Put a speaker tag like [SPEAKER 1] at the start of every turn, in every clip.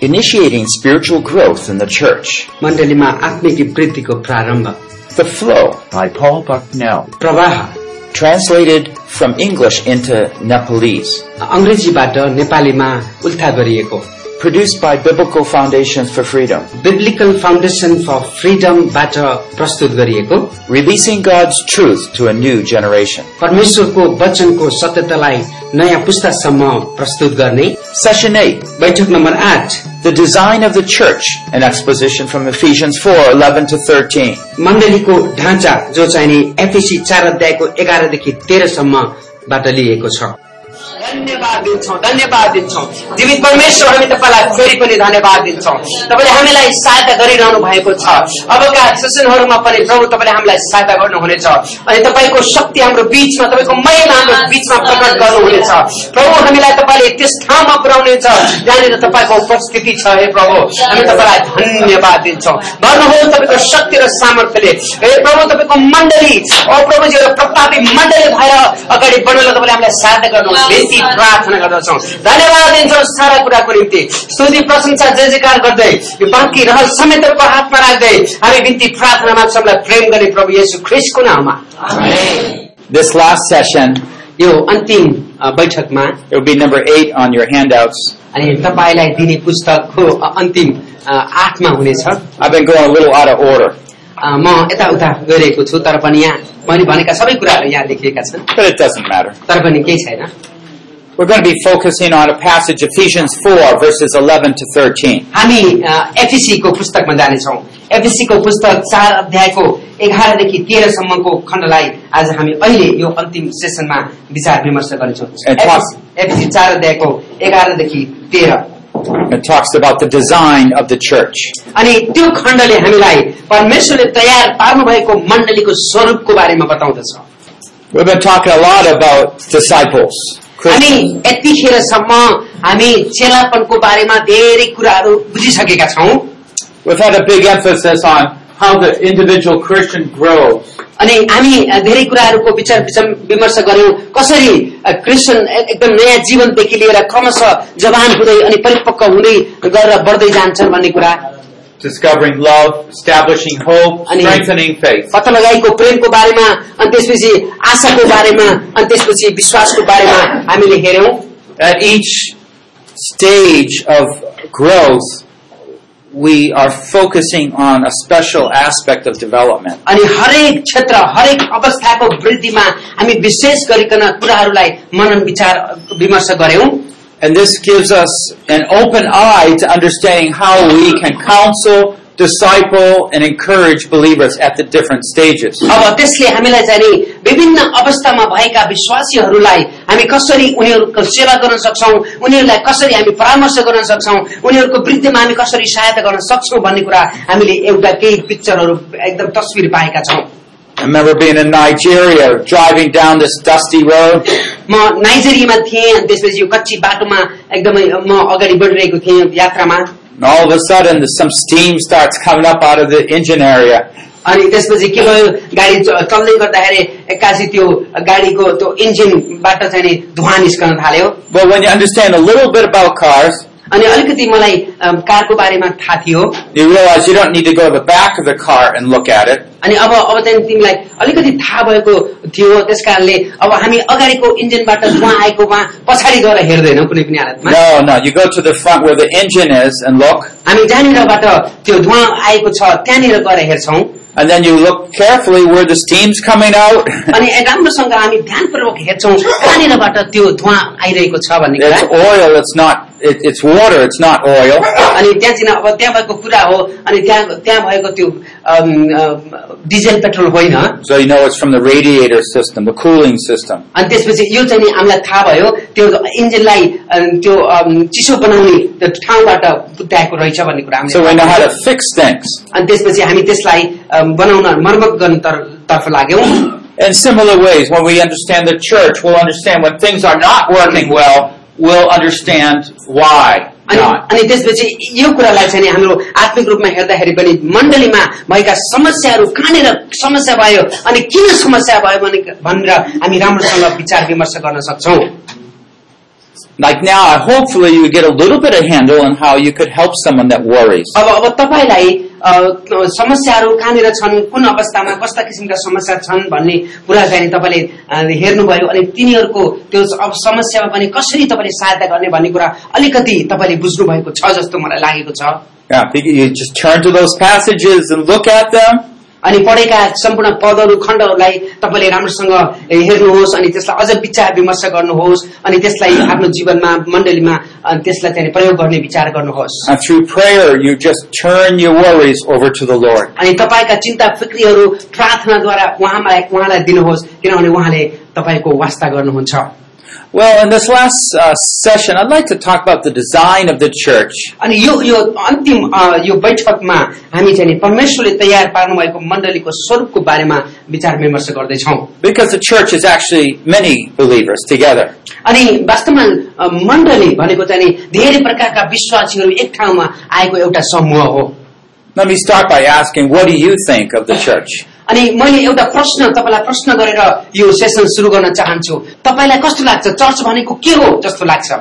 [SPEAKER 1] initiating spiritual growth in the church,
[SPEAKER 2] मण्डलीमा आत्मिक वृद्धिको प्रारम्भ
[SPEAKER 1] The Flow,
[SPEAKER 3] by Paul Bucknell.
[SPEAKER 2] प्रवाह
[SPEAKER 1] translated from English into Nepalese,
[SPEAKER 2] अङ्ग्रेजीबाट नेपालीमा उल्था गरिएको
[SPEAKER 1] produced by Biblical Foundations for Freedom,
[SPEAKER 2] biblical foundation for फ्रिडमबाट प्रस्तुत गरिएको
[SPEAKER 1] releasing God's truth to a new generation.
[SPEAKER 2] परमेश्वरको वचनको सत्यतालाई नयाँ पुस्तासम्म प्रस्तुत गर्ने
[SPEAKER 1] Session 8,
[SPEAKER 2] बैठक नम्बर आठ
[SPEAKER 1] The Design of the Church, an exposition from Ephesians 4, 11 to 13.
[SPEAKER 2] मण्डलीको ढाँचा जो चाहिने एफएसी चार अध्यायको एघारदेखि तेह्रसम्मबाट लिएको छ
[SPEAKER 4] धन्यवाद दिन्छौँ धन्यवाद दिन्छौँ जीवित परमेश्वर हामी तपाईँलाई फेरि पनि धन्यवाद दिन्छौँ तपाईँले हामीलाई सहायता गरिरहनु भएको छ अबका सेसनहरूमा पनि प्रभु तपाईँले हामीलाई सहायता गर्नुहुनेछ अनि तपाईँको शक्ति हाम्रो बीचमा तपाईँको महिमा हाम्रो बीचमा प्रकट गर्नुहुनेछ प्रभु हामीलाई तपाईँले त्यस ठाउँमा पुर्याउनेछ जहाँनिर तपाईँको उपस्थिति छ हे प्रभु हामी तपाईँलाई धन्यवाद दिन्छौँ गर्नुहोस् तपाईँको शक्ति र सामर्थ्यले हे प्रभु तपाईँको मण्डली ओ प्रभुजी एउटा प्रतापी मण्डली भएर अगाडि बढ्नलाई तपाईँले हामीलाई सहायता गर्नुहोस् बेसी प्रार्थना गर्दछौँ धन्यवाद दिन्छौँ सारा कुराको निम्ति स्तुति प्रशंसा जय जयकार गर्दै यो बाँकी रहर समेत तपाईँको हातमा राख्दै हामी बिन्ती प्रार्थना मान्छौँ हामीलाई प्रेम गर्ने प्रभु येशू ख्रिस्टको नाममा
[SPEAKER 1] This last session,
[SPEAKER 2] यो अन्तिम अ, बैठकमा
[SPEAKER 1] it will be number 8 on your handouts.
[SPEAKER 2] अनि तपाईँलाई दिने पुस्तकको अ- अन्तिम अ, आठमा हुनेछ
[SPEAKER 1] I've been going a little out of order,
[SPEAKER 2] अ, म यताउता गइरहेको छु तर पनि यहाँ मैले भनेका सबै कुराहरू यहाँ लेखिएका छन्
[SPEAKER 1] but it doesn't matter.
[SPEAKER 2] तर पनि केही छैन
[SPEAKER 1] We're going to be focusing on a passage, Ephesians 4, verses 11 to 13.
[SPEAKER 2] हामी एफिसी को पुस्तकमा जानेछौँ एफिसी को पुस्तक चार अध्यायको एघारदेखि तेह्रसम्मको खण्डलाई आज हामी अहिले यो अन्तिम सेसनमा विचार विमर्श गर्नेछौँ
[SPEAKER 1] ए, क्लास-
[SPEAKER 2] एफिसी E चार अध्यायको एघारदेखि तेह्र
[SPEAKER 1] It talks about the design of the church.
[SPEAKER 2] अनि त्यो खण्डले हामीलाई परमेश्वरले तयार पार्नु भएको मण्डलीको स्वरूपको बारेमा बताउँदछ
[SPEAKER 1] We've been talking a lot about disciples.
[SPEAKER 2] अनि
[SPEAKER 1] Christians.
[SPEAKER 2] यतिखेरसम्म हामी चेलापनको बारेमा धेरै कुराहरू बुझिसकेका छौँ
[SPEAKER 3] We've had a big emphasis on how the individual Christian grows.
[SPEAKER 2] अनि हामी अ, धेरै कुराहरूको विचार विचम- विमर्श गर्यौं कसरी अ, क्रिस्चियन ए- एकदम नयाँ जीवनदेखि लिएर क्रमशः जवान हुँदै अनि परिपक्व हुँदै गरेर बढ्दै जान्छन् भन्ने कुरा
[SPEAKER 3] Discovering love, establishing hope,
[SPEAKER 2] I mean-
[SPEAKER 3] strengthening faith.
[SPEAKER 2] पत्ता लगाएको प्रेमको बारेमा अनि त्यसपछि आशाको बारेमा अनि त्यसपछि विश्वासको बारेमा हामीले हेऱ्यौं
[SPEAKER 1] At each stage of growth, we are focusing on a special aspect of development.
[SPEAKER 2] अनि हरेक क्षेत्र हरेक अवस्थाको वृद्धिमा हामी विशेष गरिकन कुराहरूलाई मनन विचार विमर्श गर्यौं
[SPEAKER 1] And this gives us an open eye to understanding how we can counsel, disciple, and encourage believers at the different stages.
[SPEAKER 2] अब त्यसले हामीलाई चाहिँ नि विभिन्न अवस्थामा भएका विश्वासीहरूलाई हामी कसरी उनीहरूको सेवा गर्न सक्छौं उनीहरूलाई कसरी हामी परामर्श गर्न सक्छौं उनीहरूको वृद्धिमा हामी कसरी सहायता गर्न सक्छौं भन्ने कुरा हामीले एउटा केही पिक्चरहरू एकदम तस्विर पाएका छौँ
[SPEAKER 1] I remember being in Nigeria, driving down this dusty road,
[SPEAKER 2] म नाइजेरियामा थिएँ अनि त्यसपछि यो कच्ची बाटोमा एकदमै म अगाडि बढिरहेको थिएँ यात्रामा
[SPEAKER 1] and all of a sudden some steam starts coming up out of the engine area.
[SPEAKER 2] अनि त्यसपछि के भयो गाडी च- चल्दै गर्दाखेरि एक्कासी त्यो गाडीको त्यो इन्जिनबाट चाहिँ नि धुवा निस्कन थाल्यो
[SPEAKER 1] But when you understand a little bit about cars,
[SPEAKER 2] अनि अलिकति मलाई अम, कारको बारेमा थाहा थियो
[SPEAKER 1] you realize you don't need to go to the back of the car and look at it.
[SPEAKER 2] अनि अब अब चाहिँ तिमीलाई अलिकति थाहा भएको थियो त्यस कारणले अब हामी अगाडिको इन्जिनबाट धुवा आएको वहाँ पछाडि गएर हेर्दैनौँ कुनै पनि हालतमा
[SPEAKER 1] No, no, you go to the front where the engine is and look,
[SPEAKER 2] हामी जहाँनिरबाट त्यो धुवा आएको छ त्यहाँनिर गएर हेर्छौँ
[SPEAKER 1] and then you look carefully where the steam's coming out.
[SPEAKER 2] अनि राम्रोसँग हामी ध्यानपूर्वक हेर्छौँ कहाँनिरबाट त्यो धुवा आइरहेको छ भन्ने
[SPEAKER 1] it's
[SPEAKER 2] कुरा
[SPEAKER 1] oil, it's not, it, it's water, it's not oil.
[SPEAKER 2] अनि त्यहाँ चाहिँ अब त्यहाँ भएको कुरा हो अनि त्यहाँ त्यहाँ भएको त्यो अम, अम, डिजेल पेट्रोल होइन अनि
[SPEAKER 1] So you know it's from the radiator system, the cooling system.
[SPEAKER 2] त्यसपछि यो चाहिँ नि हामीलाई थाहा भयो त्यो इन्जिनलाई अम, त्यो अम, चिसो बनाउने त्यो ठाउँबाट पुत्याएको रहेछ भन्ने कुरा हामीले
[SPEAKER 1] So we know
[SPEAKER 2] थाहा
[SPEAKER 1] how
[SPEAKER 2] भयो।
[SPEAKER 1] to fix things.
[SPEAKER 2] अनि त्यसपछि हामी त्यसलाई अम, बनाउन मर्मत गर्नु तर- तर्फ लाग्यौँ
[SPEAKER 1] In similar ways, when we understand the church, we'll understand when things are not working well, we'll understand why
[SPEAKER 2] अनि
[SPEAKER 1] not.
[SPEAKER 2] अनि त्यसपछि यो कुरालाई चाहिँ नि हाम्रो आत्मिक रूपमा हेर्दाखेरि पनि मण्डलीमा भएका समस्याहरू कहाँनिर समस्या भयो अनि किन समस्या भयो भने- भनेर हामी राम्रोसँग विचार विमर्श गर्न सक्छौँ
[SPEAKER 1] Like now, I- hopefully you get a little bit of handle on how you could help someone that worries.
[SPEAKER 2] अब अब तपाईँलाई अ, समस्याहरू कहाँनिर छन् कुन अवस्थामा कस्ता किसिमका समस्या छन् भन्ने कुरा चाहिँ तपाईँले अ, हेर्नुभयो अनि तिनीहरूको त्यो अब समस्यामा पनि कसरी तपाईँले सहायता गर्ने भन्ने कुरा अलिकति तपाईँले बुझ्नु भएको छ जस्तो मलाई लागेको छ
[SPEAKER 1] Yeah, you just turn to those passages and look at them.
[SPEAKER 2] अनि पढेका सम्पूर्ण पदहरू खण्डहरूलाई तपाईँले राम्रोसँग हेर्नुहोस् अनि त्यसलाई अझ विचार विमर्श गर्नुहोस् अनि त्यसलाई आफ्नो जीवनमा मण्डलीमा अनि त्यसलाई चाहिँ प्रयोग गर्ने विचार गर्नुहोस्
[SPEAKER 1] And through prayer, you just turn your worries over to the Lord.
[SPEAKER 2] अनि तपाईँका चिन्ता फिक्रीहरू प्रार्थनाद्वारा उहाँमा उहाँलाई दिनुहोस् किनभने उहाँले तपाईँको वास्ता गर्नुहुन्छ
[SPEAKER 1] Well, in this last uh, session, I'd like to talk about the design of the church.
[SPEAKER 2] अनि यो यो अन्तिम अ, यो बैठकमा हामी चाहिँ नि परमेश्वरले तयार पार्नु भएको मण्डलीको स्वरूपको बारेमा विचार विमर्श गर्दैछौं
[SPEAKER 1] Because the church is actually many believers together.
[SPEAKER 2] अनि वास्तवमा अ, मण्डली भनेको चाहिँ नि धेरै प्रकारका विश्वासीहरू एक ठाउँमा आएको एउटा समूह हो
[SPEAKER 1] Let me start by asking, what do you think of the church?
[SPEAKER 2] अनि मैले एउटा प्रश्न तपाईँलाई प्रश्न गरेर यो सेसन सुरु गर्न चाहन्छु तपाईँलाई कस्तो लाग्छ चर्च भनेको के हो जस्तो लाग्छ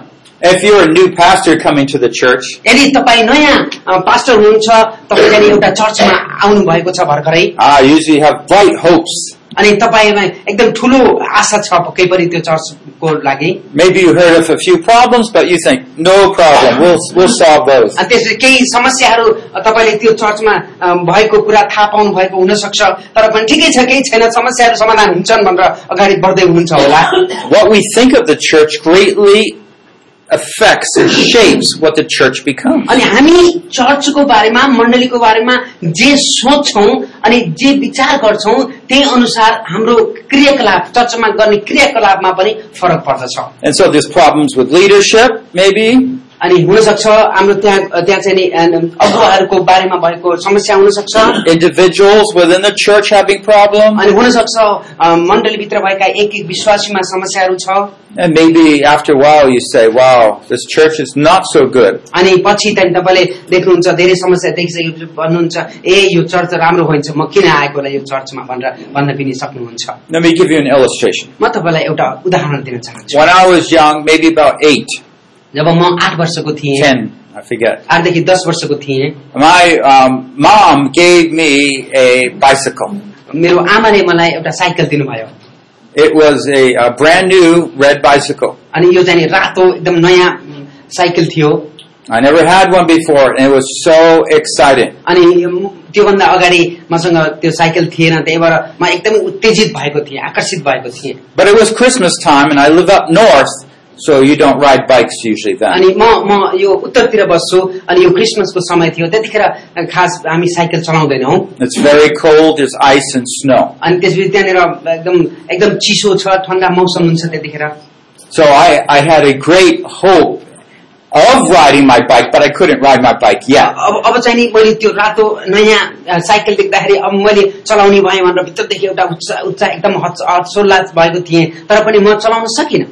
[SPEAKER 1] If you're a new pastor coming to the church,
[SPEAKER 2] यदि तपाईँ नयाँ अ, पास्टर हुनुहुन्छ तपाईँ चाहिँ एउटा चर्चमा आउनु भएको छ भर्खरै
[SPEAKER 1] I usually have bright hopes.
[SPEAKER 2] अनि तपाईँमा एकदम ठुलो आशा छ पक्कै पनि त्यो चर्चको लागि
[SPEAKER 1] Maybe you heard of a few problems, but you think, no problem, we'll, we'll solve those.
[SPEAKER 2] अनि त्यसले केही समस्याहरू अ, तपाईँले त्यो चर्चमा अ, भएको कुरा थाहा पाउनु भएको हुनसक्छ तर पनि ठिकै छ केही छैन समस्याहरू समाधान हुन्छन् भनेर अगाडि बढ्दै हुनुहुन्छ होला
[SPEAKER 1] What we think of the church greatly affects and shapes what the church becomes.
[SPEAKER 2] अनि हामी चर्चको बारेमा मण्डलीको बारेमा जे सोच्छौँ अनि जे विचार गर्छौँ त्यही अनुसार हाम्रो क्रियाकलाप चर्चमा गर्ने क्रियाकलापमा पनि फरक पर्दछ
[SPEAKER 1] And so there's problems with leadership, maybe.
[SPEAKER 2] अनि हुनसक्छ हाम्रो त्यहाँ त्यहाँ चाहिँ नि अगुवाहरूको बारेमा भएको समस्या हुनसक्छ
[SPEAKER 1] Individuals within the church having problems.
[SPEAKER 2] अनि हुनसक्छ अ, मण्डलीभित्र भएका एक एक विश्वासीमा समस्याहरू छ
[SPEAKER 1] And maybe after a while you say, wow, this church is not so good.
[SPEAKER 2] अनि पछि त्यहाँदेखि तपाईँले देख्नुहुन्छ धेरै समस्या देखिसकेपछि भन्नुहुन्छ ए यो चर्च राम्रो भइन्छ म किन आएको होला यो चर्चमा भनेर भन्न पनि सक्नुहुन्छ
[SPEAKER 1] Let me give you an illustration.
[SPEAKER 2] म तपाईँलाई एउटा उदाहरण दिन चाहन्छु
[SPEAKER 1] When I was young, maybe about eight,
[SPEAKER 2] जब म आठ वर्षको थिएँ
[SPEAKER 1] ten, I forget.
[SPEAKER 2] आठदेखि दस वर्षको थिएँ
[SPEAKER 1] My um, mom gave me a bicycle.
[SPEAKER 2] मेरो आमाले मलाई एउटा साइकल दिनुभयो
[SPEAKER 1] It was a, uh brand new red bicycle.
[SPEAKER 2] अनि यो चाहिँ नि रातो एकदम नयाँ उम्, साइकल थियो
[SPEAKER 1] I never had one before, and it was so exciting.
[SPEAKER 2] अनि म- त्योभन्दा अगाडि मसँग त्यो साइकल थिएन त्यही भएर म एकदमै उत्तेजित भएको थिएँ आकर्षित भएको थिएँ
[SPEAKER 1] But it was Christmas time, and I live up north, so you don't ride bikes usually then.
[SPEAKER 2] अनि म म यो उत्तरतिर बस्छु अनि यो क्रिसमसको समय थियो त्यतिखेर खास हामी साइकल चलाउँदैनौँ
[SPEAKER 1] It's very cold, there's ice and snow.
[SPEAKER 2] अनि त्यसपछि त्यहाँनिर एकदम एकदम चिसो छ ठन्डा मौसम हुन्छ त्यतिखेर
[SPEAKER 1] So I, I had a great hope of riding my bike, but I couldn't ride my bike yet.
[SPEAKER 2] अब अब चाहिँ नि मैले त्यो रातो नयाँ अ, साइकल देख्दाखेरि अब मैले चलाउने भएँ भनेर भित्रदेखि एउटा उच्च उच्च एकदम हच- हर्षोल्लास भएको थिएँ तर पनि म चलाउन सकिनँ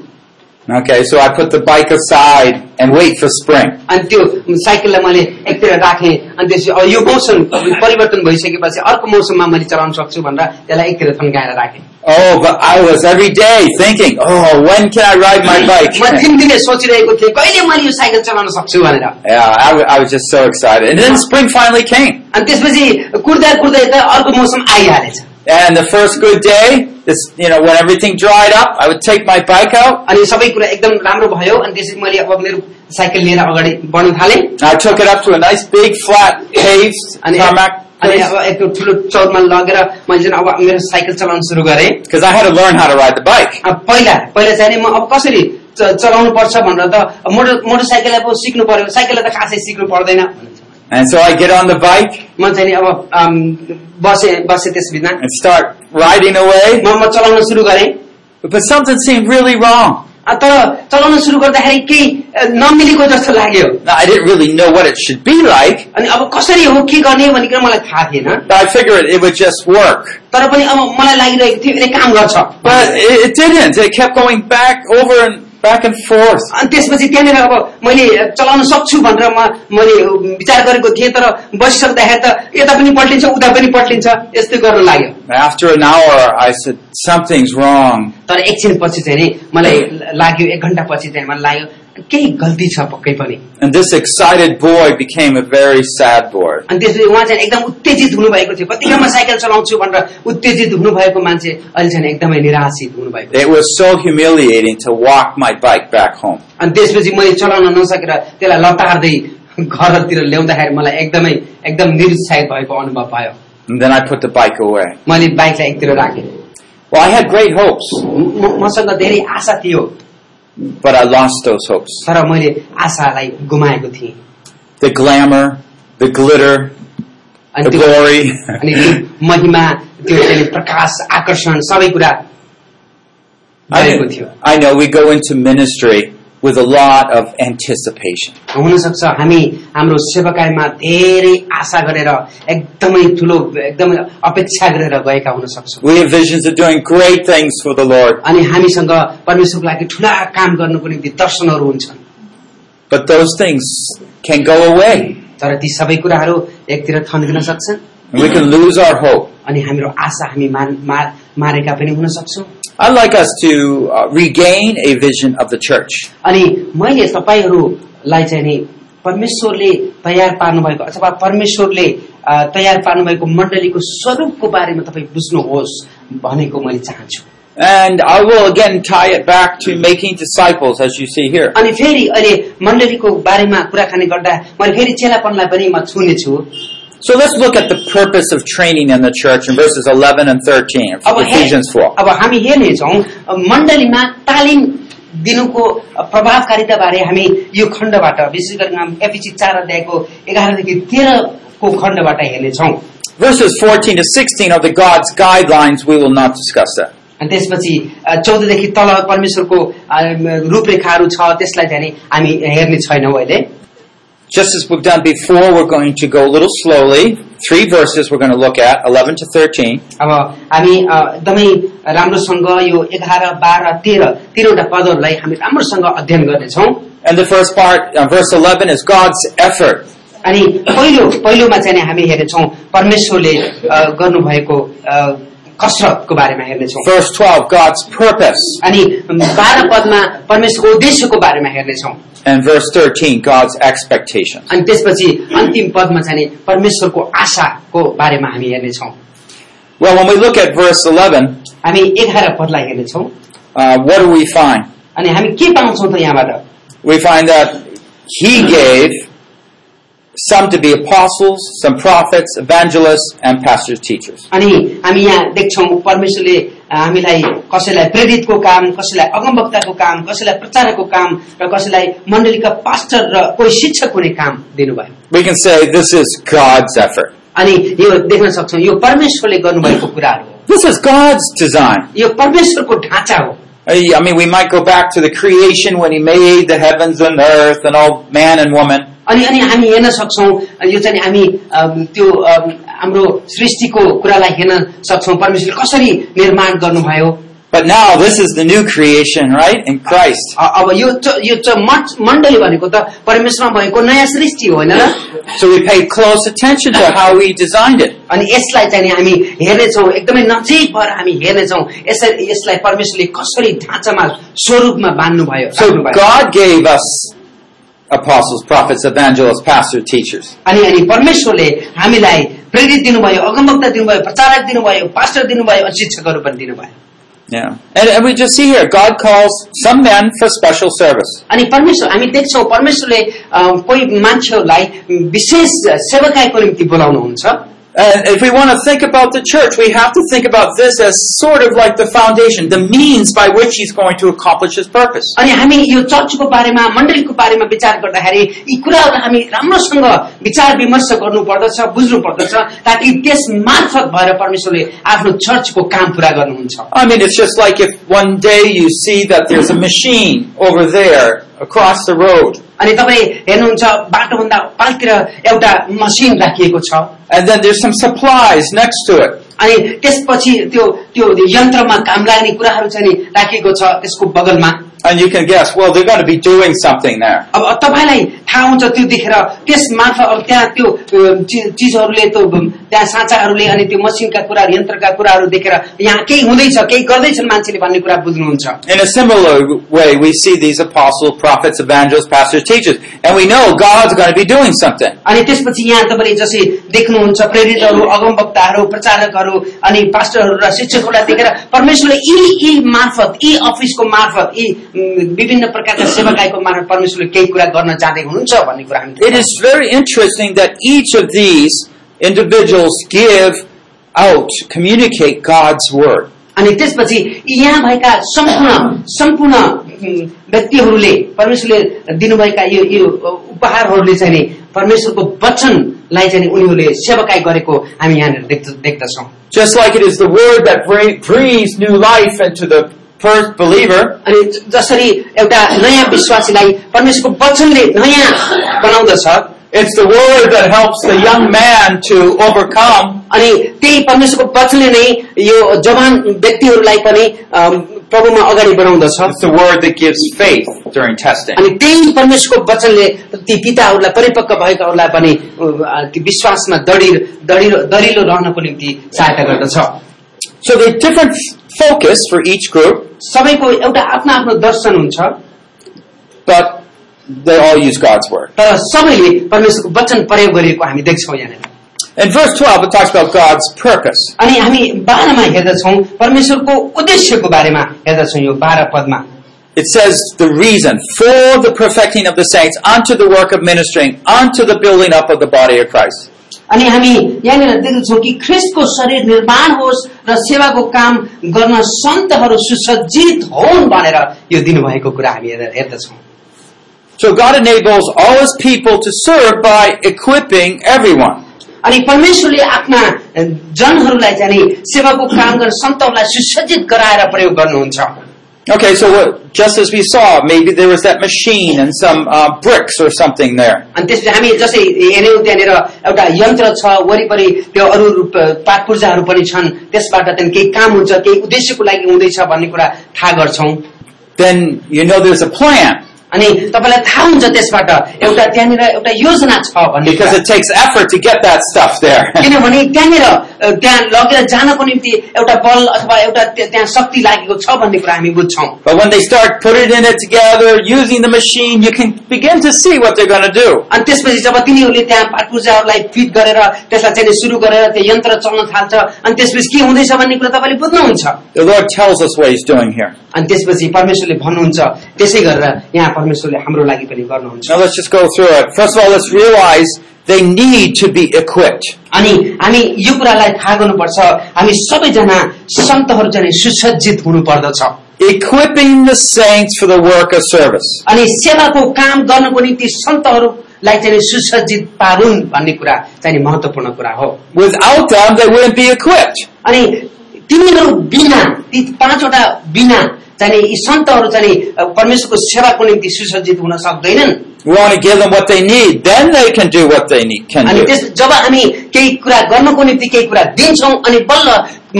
[SPEAKER 1] Okay, so I put the bike aside and wait for spring.
[SPEAKER 2] अनि त्यो साइकललाई मैले एकतिर राखेँ अनि त्यसपछि अब यो मौसम परिवर्तन भइसकेपछि अर्को मौसममा मैले चलाउन सक्छु भनेर त्यसलाई एकतिर थन्काएर राखेँ
[SPEAKER 1] Oh, but I was every day thinking, oh, when can I ride my
[SPEAKER 2] म
[SPEAKER 1] bike?
[SPEAKER 2] दिनदिनै सोचिरहेको थिएँ कहिले मैले यो साइकल चलाउन सक्छु भनेर
[SPEAKER 1] Yeah, I, w- I was just so excited. And then spring finally came.
[SPEAKER 2] अनि त्यसपछि कुर्दा कुर्दै त अर्को मौसम आइहालेछ
[SPEAKER 1] And the first good day, this, you know, when everything dried up, I would take my bike out.
[SPEAKER 2] अनि सबै कुरा एकदम राम्रो भयो अनि त्यसपछि मैले अब मेरो साइकल लिएर अगाडि बढ्न थालेँ
[SPEAKER 1] I took it up to a nice big flat paved
[SPEAKER 2] अनि
[SPEAKER 1] tarmac
[SPEAKER 2] अनि अब एक ठुलो चौरमा लगेर मैले चाहिँ अब मेरो साइकल चलाउन सुरु गरेँ
[SPEAKER 1] because I had to learn how to ride the bike.
[SPEAKER 2] अब पहिला पहिला चाहिँ नि म अब कसरी च- चलाउनु पर्छ भनेर त अब मोटर मोटरसाइकललाई पो सिक्नु पर्यो साइकललाई त खासै सिक्नु पर्दैन भन्छ।
[SPEAKER 1] And so I get on the bike
[SPEAKER 2] म चाहिँ नि अब आम, बसेँ बसेँ त्यसबिना
[SPEAKER 1] and start riding away.
[SPEAKER 2] म म चलाउन सुरु गरेँ
[SPEAKER 1] But something seemed really wrong.
[SPEAKER 2] अ, तर चलाउन सुरु गर्दाखेरि केही अ, नमिलेको जस्तो लाग्यो
[SPEAKER 1] Now, I didn't really know what it should be like,
[SPEAKER 2] अनि अब कसरी हो के गर्ने भनेर मलाई थाहा थिएन
[SPEAKER 1] but I figured it would just work.
[SPEAKER 2] तर पनि अब मलाई लागिरहेको थियो यसले काम गर्छ
[SPEAKER 1] But it, it didn't. It kept going back over and back and forth.
[SPEAKER 2] अनि त्यसपछि त्यहाँनिर अब मैले चलाउन सक्छु भनेर म मैले विचार गरेको थिएँ तर बसिसक्दाखेरि त यता पनि पल्टिन्छ उता पनि पल्टिन्छ यस्तै गर्न लाग्यो
[SPEAKER 1] After an hour, I said, something's wrong.
[SPEAKER 2] तर एकछिन पछि चाहिँ नि मलाई लाग्यो एक घन्टा पछि चाहिँ मलाई लाग्यो केही गल्ती छ पक्कै पनि
[SPEAKER 1] And this excited boy became a very sad boy.
[SPEAKER 2] अनि त्यसपछि उहाँ चाहिँ एकदम उत्तेजित हुनुभएको थियो कतिखेर म साइकल चलाउँछु भनेर उत्तेजित हुनुभएको मान्छे अहिले चाहिँ एकदमै निराशित हुनुभएको
[SPEAKER 1] It was so humiliating to walk my bike back home.
[SPEAKER 2] अनि त्यसपछि मैले चलाउन नसकेर त्यसलाई लतार्दै घरतिर ल्याउँदाखेरि मलाई एकदमै एकदम निरुत्साहित भएको अनुभव भयो
[SPEAKER 1] And then I put the bike away.
[SPEAKER 2] मैले बाइकलाई एकतिर राखेँ
[SPEAKER 1] Well, I had great hopes,
[SPEAKER 2] म- म- मसँग धेरै आशा थियो
[SPEAKER 1] but I lost those hopes.
[SPEAKER 2] तर मैले आशालाई गुमाएको थिएँ
[SPEAKER 1] The glamour, the glitter, the
[SPEAKER 2] अनि त्यो अनि त्यो
[SPEAKER 1] glory.
[SPEAKER 2] महिमा त्यो चाहिँ प्रकाश आकर्षण सबै कुरा
[SPEAKER 1] I,
[SPEAKER 2] भएको थियो
[SPEAKER 1] know, I know we go into ministry with a lot of anticipation.
[SPEAKER 2] हुनसक्छ हामी हाम्रो सेवाकायमा धेरै आशा गरेर एकदमै ठुलो एकदमै अपेक्षा गरेर गएका हुन सक्छौँ
[SPEAKER 1] We have visions of doing great things for the Lord,
[SPEAKER 2] अनि हामीसँग परमेश्वरको लागि ठुला काम गर्नुको निम्ति दर्शनहरू हुन्छन्
[SPEAKER 1] but those things can go away.
[SPEAKER 2] तर ती सबै कुराहरू एकतिर थन्किन सक्छन्
[SPEAKER 1] And we can lose our hope.
[SPEAKER 2] अनि हाम्रो आशा हामी मान- मार- मारेका पनि हुन सक्छौँ
[SPEAKER 1] I'd like us to uh, regain a vision of the church.
[SPEAKER 2] अनि मैले तपाईँहरूलाई चाहिँ नि परमेश्वरले तयार पार्नुभएको अथवा परमेश्वरले अ, तयार पार्नुभएको मण्डलीको स्वरूपको बारेमा तपाईँ बुझ्नुहोस् भनेको मैले चाहन्छु
[SPEAKER 1] And I will again tie it back to making disciples, as you see here.
[SPEAKER 2] अनि फेरि अहिले मण्डलीको बारेमा कुराकानी गर्दा मैले फेरि चेलापनलाई पनि म छुनेछु
[SPEAKER 1] So let's look at the purpose of training in the church in verses 11 and 13 of
[SPEAKER 2] अब हे-
[SPEAKER 1] Ephesians 4.
[SPEAKER 2] अब हामी हेर्नेछौँ मण्डलीमा तालिम दिनुको प्रभावकारिता बारे हामी यो खण्डबाट विशेष गरी हामी एपिसी चार अध्यायको एघारदेखि तेह्रको खण्डबाट हेर्नेछौँ
[SPEAKER 1] Verses 14 to 16 are the God's guidelines. We will not discuss that.
[SPEAKER 2] अनि त्यसपछि अ, चौधदेखि तल परमेश्वरको अ, म- रूपरेखाहरू छ त्यसलाई चाहिँ नि हामी हेर्ने छैनौँ अहिले
[SPEAKER 1] Just as we've done before, we're going to go a little slowly. Three verses we're going to look at, 11 to 13.
[SPEAKER 2] अब हामी अ, एकदमै राम्रोसँग यो एघार बाह्र तेह्र तिनवटा पदहरूलाई हामी राम्रोसँग अध्ययन गर्नेछौँ
[SPEAKER 1] And the first part, uh, verse 11, is God's effort.
[SPEAKER 2] अनि पहिलो पहिलोमा चाहिँ नि हामी हेर्नेछौँ परमेश्वरले अ, गर्नुभएको अ, कसरतको बारेमा हेर्नेछौँ
[SPEAKER 1] Verse 12, God's purpose.
[SPEAKER 2] अनि बाह्र पदमा परमेश्वरको उद्देश्यको बारेमा हेर्नेछौँ
[SPEAKER 1] And verse 13, God's expectations.
[SPEAKER 2] अनि त्यसपछि अन्तिम पदमा चाहिँ नि परमेश्वरको आशाको बारेमा हामी हेर्नेछौँ
[SPEAKER 1] Well, when we look at verse 11,
[SPEAKER 2] हामी एघार पदलाई हेर्नेछौँ
[SPEAKER 1] uh, what do we find?
[SPEAKER 2] अनि हामी के पाउँछौँ त यहाँबाट
[SPEAKER 1] We find that He gave some to be apostles, some prophets, evangelists, and pastors, teachers.
[SPEAKER 2] अनि हामी यहाँ देख्छौँ परमेश्वरले अ, हामीलाई कसैलाई प्रेरितको काम कसैलाई अगमवक्ताको काम कसैलाई प्रचारको काम र कसैलाई मण्डलीका पास्टर र कोही शिक्षक हुने काम दिनुभयो
[SPEAKER 1] We can say this is God's effort.
[SPEAKER 2] अनि यो देख्न सक्छौँ यो परमेश्वरले गर्नुभएको कुराहरू हो
[SPEAKER 1] This is God's design.
[SPEAKER 2] यो परमेश्वरको ढाँचा हो
[SPEAKER 1] I I mean, we might go back to the creation when He made the heavens and earth and all man and woman.
[SPEAKER 2] अनि अनि हामी हेर्न सक्छौँ यो चाहिँ हामी अम, त्यो अम, हाम्रो सृष्टिको कुरालाई हेर्न सक्छौँ परमेश्वरले कसरी निर्माण गर्नुभयो
[SPEAKER 1] But now this is the new creation, right? In Christ.
[SPEAKER 2] अ- अब यो च- यो च- मण्ड- मण्डली भनेको त परमेश्वरमा भएको नयाँ सृष्टि हो होइन र
[SPEAKER 1] So we pay close attention to how He designed it.
[SPEAKER 2] अनि यसलाई चाहिँ नि हामी हेर्नेछौँ एकदमै नजिक भएर हामी हेर्नेछौँ यसरी यसलाई परमेश्वरले कसरी ढाँचामा स्वरूपमा बाँध्नुभयो
[SPEAKER 1] So
[SPEAKER 2] राख्नुभयो।
[SPEAKER 1] God gave us apostles, prophets, evangelists, pastors, teachers.
[SPEAKER 2] अनि अनि परमेश्वरले हामीलाई प्रेरित दिनुभयो अगमवक्ता दिनुभयो प्रचारक दिनुभयो पास्टर दिनुभयो अनि शिक्षकहरू पनि दिनुभयो
[SPEAKER 1] Yeah. And, and we just see here, God calls some men for special service.
[SPEAKER 2] अनि परमेश्वर हामी देख्छौँ परमेश्वरले अ, कोही मान्छेहरूलाई विशेष सेवकाईको निम्ति बोलाउनुहुन्छ
[SPEAKER 1] And if we want to think about the church, we have to think about this as sort of like the foundation, the means by which he's going to accomplish his purpose.
[SPEAKER 2] अनि हामी यो चर्चको बारेमा मण्डलीको बारेमा विचार गर्दाखेरि यी कुराहरू हामी राम्रोसँग विचार विमर्श गर्नुपर्दछ बुझ्नु पर्दछ ताकि त्यस मार्फत भएर परमेश्वरले आफ्नो चर्चको काम पूरा गर्नुहुन्छ
[SPEAKER 1] I mean, it's just like if one day you see that there's a machine over there across the road,
[SPEAKER 2] अनि तपाईँ हेर्नुहुन्छ बाटोभन्दा पालतिर एउटा मसिन राखिएको छ
[SPEAKER 1] and then there's some supplies next to it.
[SPEAKER 2] अनि त्यसपछि त्यो त्यो यन्त्रमा काम लाग्ने कुराहरू चाहिँ नि राखिएको छ त्यसको बगलमा
[SPEAKER 1] And you can guess, well, they're going to be doing something there.
[SPEAKER 2] अब तपाईँलाई थाहा हुन्छ त्यो देखेर त्यस मार्फत अब त्यहाँ त्यो अ, चि- चिजहरूले त्यो अम, त्यहाँ साँचाहरूले अनि त्यो मसिनका कुराहरू यन्त्रका कुराहरू देखेर यहाँ केही हुँदैछ केही गर्दैछन् मान्छेले भन्ने कुरा बुझ्नुहुन्छ
[SPEAKER 1] In a similar way, we see these apostles, prophets, evangelists, pastors, teachers, and we know God's going to be doing something.
[SPEAKER 2] अनि त्यसपछि यहाँ तपाईँले जसरी देख्नुहुन्छ प्रेरितहरू अगमवक्ताहरू प्रचारकहरू अनि पास्टरहरू र शिक्षकहरूलाई देखेर परमेश्वरले यी यी मार्फत यी अफिसको मार्फत यी अम, विभिन्न प्रकारका सेवाकाईको मार्फत परमेश्वरले केही कुरा गर्न जाँदै हुनुहुन्छ भन्ने कुरा हामी
[SPEAKER 1] It is very interesting that each of these individuals give out, communicate God's word.
[SPEAKER 2] अनि त्यसपछि यहाँ भएका सम्पूर्ण सम्पूर्ण उम्, व्यक्तिहरूले परमेश्वरले दिनुभएका यो यो उपहारहरूले चाहिँ नि परमेश्वरको वचनलाई चाहिँ नि उनीहरूले सेवकाई गरेको हामी यहाँनिर देख्द- देख्दछौँ
[SPEAKER 1] Just like it is the word that bring- breathes new life into the first believer,
[SPEAKER 2] अनि ज- जसरी एउटा नयाँ विश्वासीलाई परमेश्वरको वचनले नयाँ बनाउँदछ
[SPEAKER 1] it's the word that helps the young man to overcome.
[SPEAKER 2] अनि त्यही परमेश्वरको वचनले नै यो जवान व्यक्तिहरूलाई पनि अम, प्रभुमा अगाडि बढाउँदछ
[SPEAKER 1] It's the word that gives faith during testing.
[SPEAKER 2] अनि त्यही परमेश्वरको वचनले ती पिताहरूलाई परिपक्व भएकाहरूलाई पनि अ, ती विश्वासमा दडिर दडिलो दरिलो रहनको निम्ति सहायता गर्दछ
[SPEAKER 1] So the different focus for each group,
[SPEAKER 2] सबैको एउटा आफ्नो आफ्नो दर्शन हुन्छ
[SPEAKER 1] but they all use God's word.
[SPEAKER 2] तर सबैले परमेश्वरको वचन प्रयोग गरिएको हामी देख्छौँ यहाँनिर
[SPEAKER 1] In verse 12, it talks about God's purpose.
[SPEAKER 2] अनि हामी बाह्रमा हेर्दछौँ परमेश्वरको उद्देश्यको बारेमा हेर्दछौँ यो बाह्र Padma
[SPEAKER 1] It says the reason for the perfecting of the saints unto the work of ministering, unto the building up of the body of Christ.
[SPEAKER 2] अनि हामी यहाँनिर देख्दछौँ कि ख्रिस्टको शरीर निर्माण होस् र सेवाको काम गर्न सन्तहरू सुसज्जित होन् भनेर यो दिनुभएको कुरा हामी हेर्दा- हेर्दछौँ
[SPEAKER 1] So God enables all his people to serve by equipping everyone.
[SPEAKER 2] अनि परमेश्वरले आफ्ना जनहरूलाई चाहिँ नि सेवाको काम गर्न सन्तहरूलाई सुसज्जित गराएर प्रयोग गर्नुहुन्छ
[SPEAKER 1] Okay, so what, just as we saw, maybe there was that machine and some uh, bricks or something there.
[SPEAKER 2] अनि त्यसपछि हामी जसै हेऱ्यौँ त्यहाँनिर एउटा यन्त्र छ वरिपरि त्यो अरू रूप- पाट पूर्जाहरू पनि छन् त्यसबाट त्यहाँदेखि केही काम हुन्छ केही उद्देश्यको लागि हुँदैछ भन्ने कुरा थाहा गर्छौँ
[SPEAKER 1] Then you know there's a plan
[SPEAKER 2] अनि तपाईँलाई थाहा हुन्छ त्यसबाट एउटा त्यहाँनिर एउटा योजना छ भन्ने
[SPEAKER 1] because
[SPEAKER 2] कुरा।
[SPEAKER 1] it takes effort to get that stuff there.
[SPEAKER 2] किनभने त्यहाँनिर अ, त्यहाँ लगेर जानको निम्ति एउटा बल अथवा एउटा त्यहाँ त्यहाँ शक्ति लागेको छ भन्ने कुरा हामी बुझ्छौँ
[SPEAKER 1] But when they start putting it together, using the machine, you can begin to see what they're going to do.
[SPEAKER 2] अनि त्यसपछि जब तिनीहरूले त्यहाँ पाठ पूर्जाहरूलाई फिट गरेर त्यसलाई चाहिँ सुरु गरेर त्यो यन्त्र चल्न थाल्छ अनि त्यसपछि के हुँदैछ भन्ने कुरा तपाईँले बुझ्नुहुन्छ
[SPEAKER 1] The Lord tells us what He's doing here.
[SPEAKER 2] अनि त्यसपछि परमेश्वरले भन्नुहुन्छ त्यसै गरेर यहाँ परमेश्वरले हाम्रो लागि पनि गर्नुहुन्छ
[SPEAKER 1] Now let's just go through it. First of all, let's realize they need to be equipped.
[SPEAKER 2] अनि हामी यो कुरालाई थाहा गर्नुपर्छ हामी सबैजना सन्तहरू चाहिँ सुसज्जित हुनु पर्दछ
[SPEAKER 1] Equipping the saints for the work of service.
[SPEAKER 2] अनि सेवाको काम गर्नको निम्ति सन्तहरूलाई चाहिँ सुसज्जित पारुन् भन्ने कुरा चाहिँ महत्वपूर्ण कुरा हो
[SPEAKER 1] Without them, they wouldn't be equipped.
[SPEAKER 2] अनि तिनीहरू बिना ती पाँचवटा बिना चाहिँ नि यी सन्तहरू चाहिँ नि परमेश्वरको सेवाको निम्ति सुसज्जित हुन सक्दैनन्
[SPEAKER 1] We want to give them what they need. Then they can do what they need, can
[SPEAKER 2] अनि
[SPEAKER 1] do.
[SPEAKER 2] त्यस जब हामी केही कुरा गर्नको निम्ति केही कुरा दिन्छौँ अनि बल्ल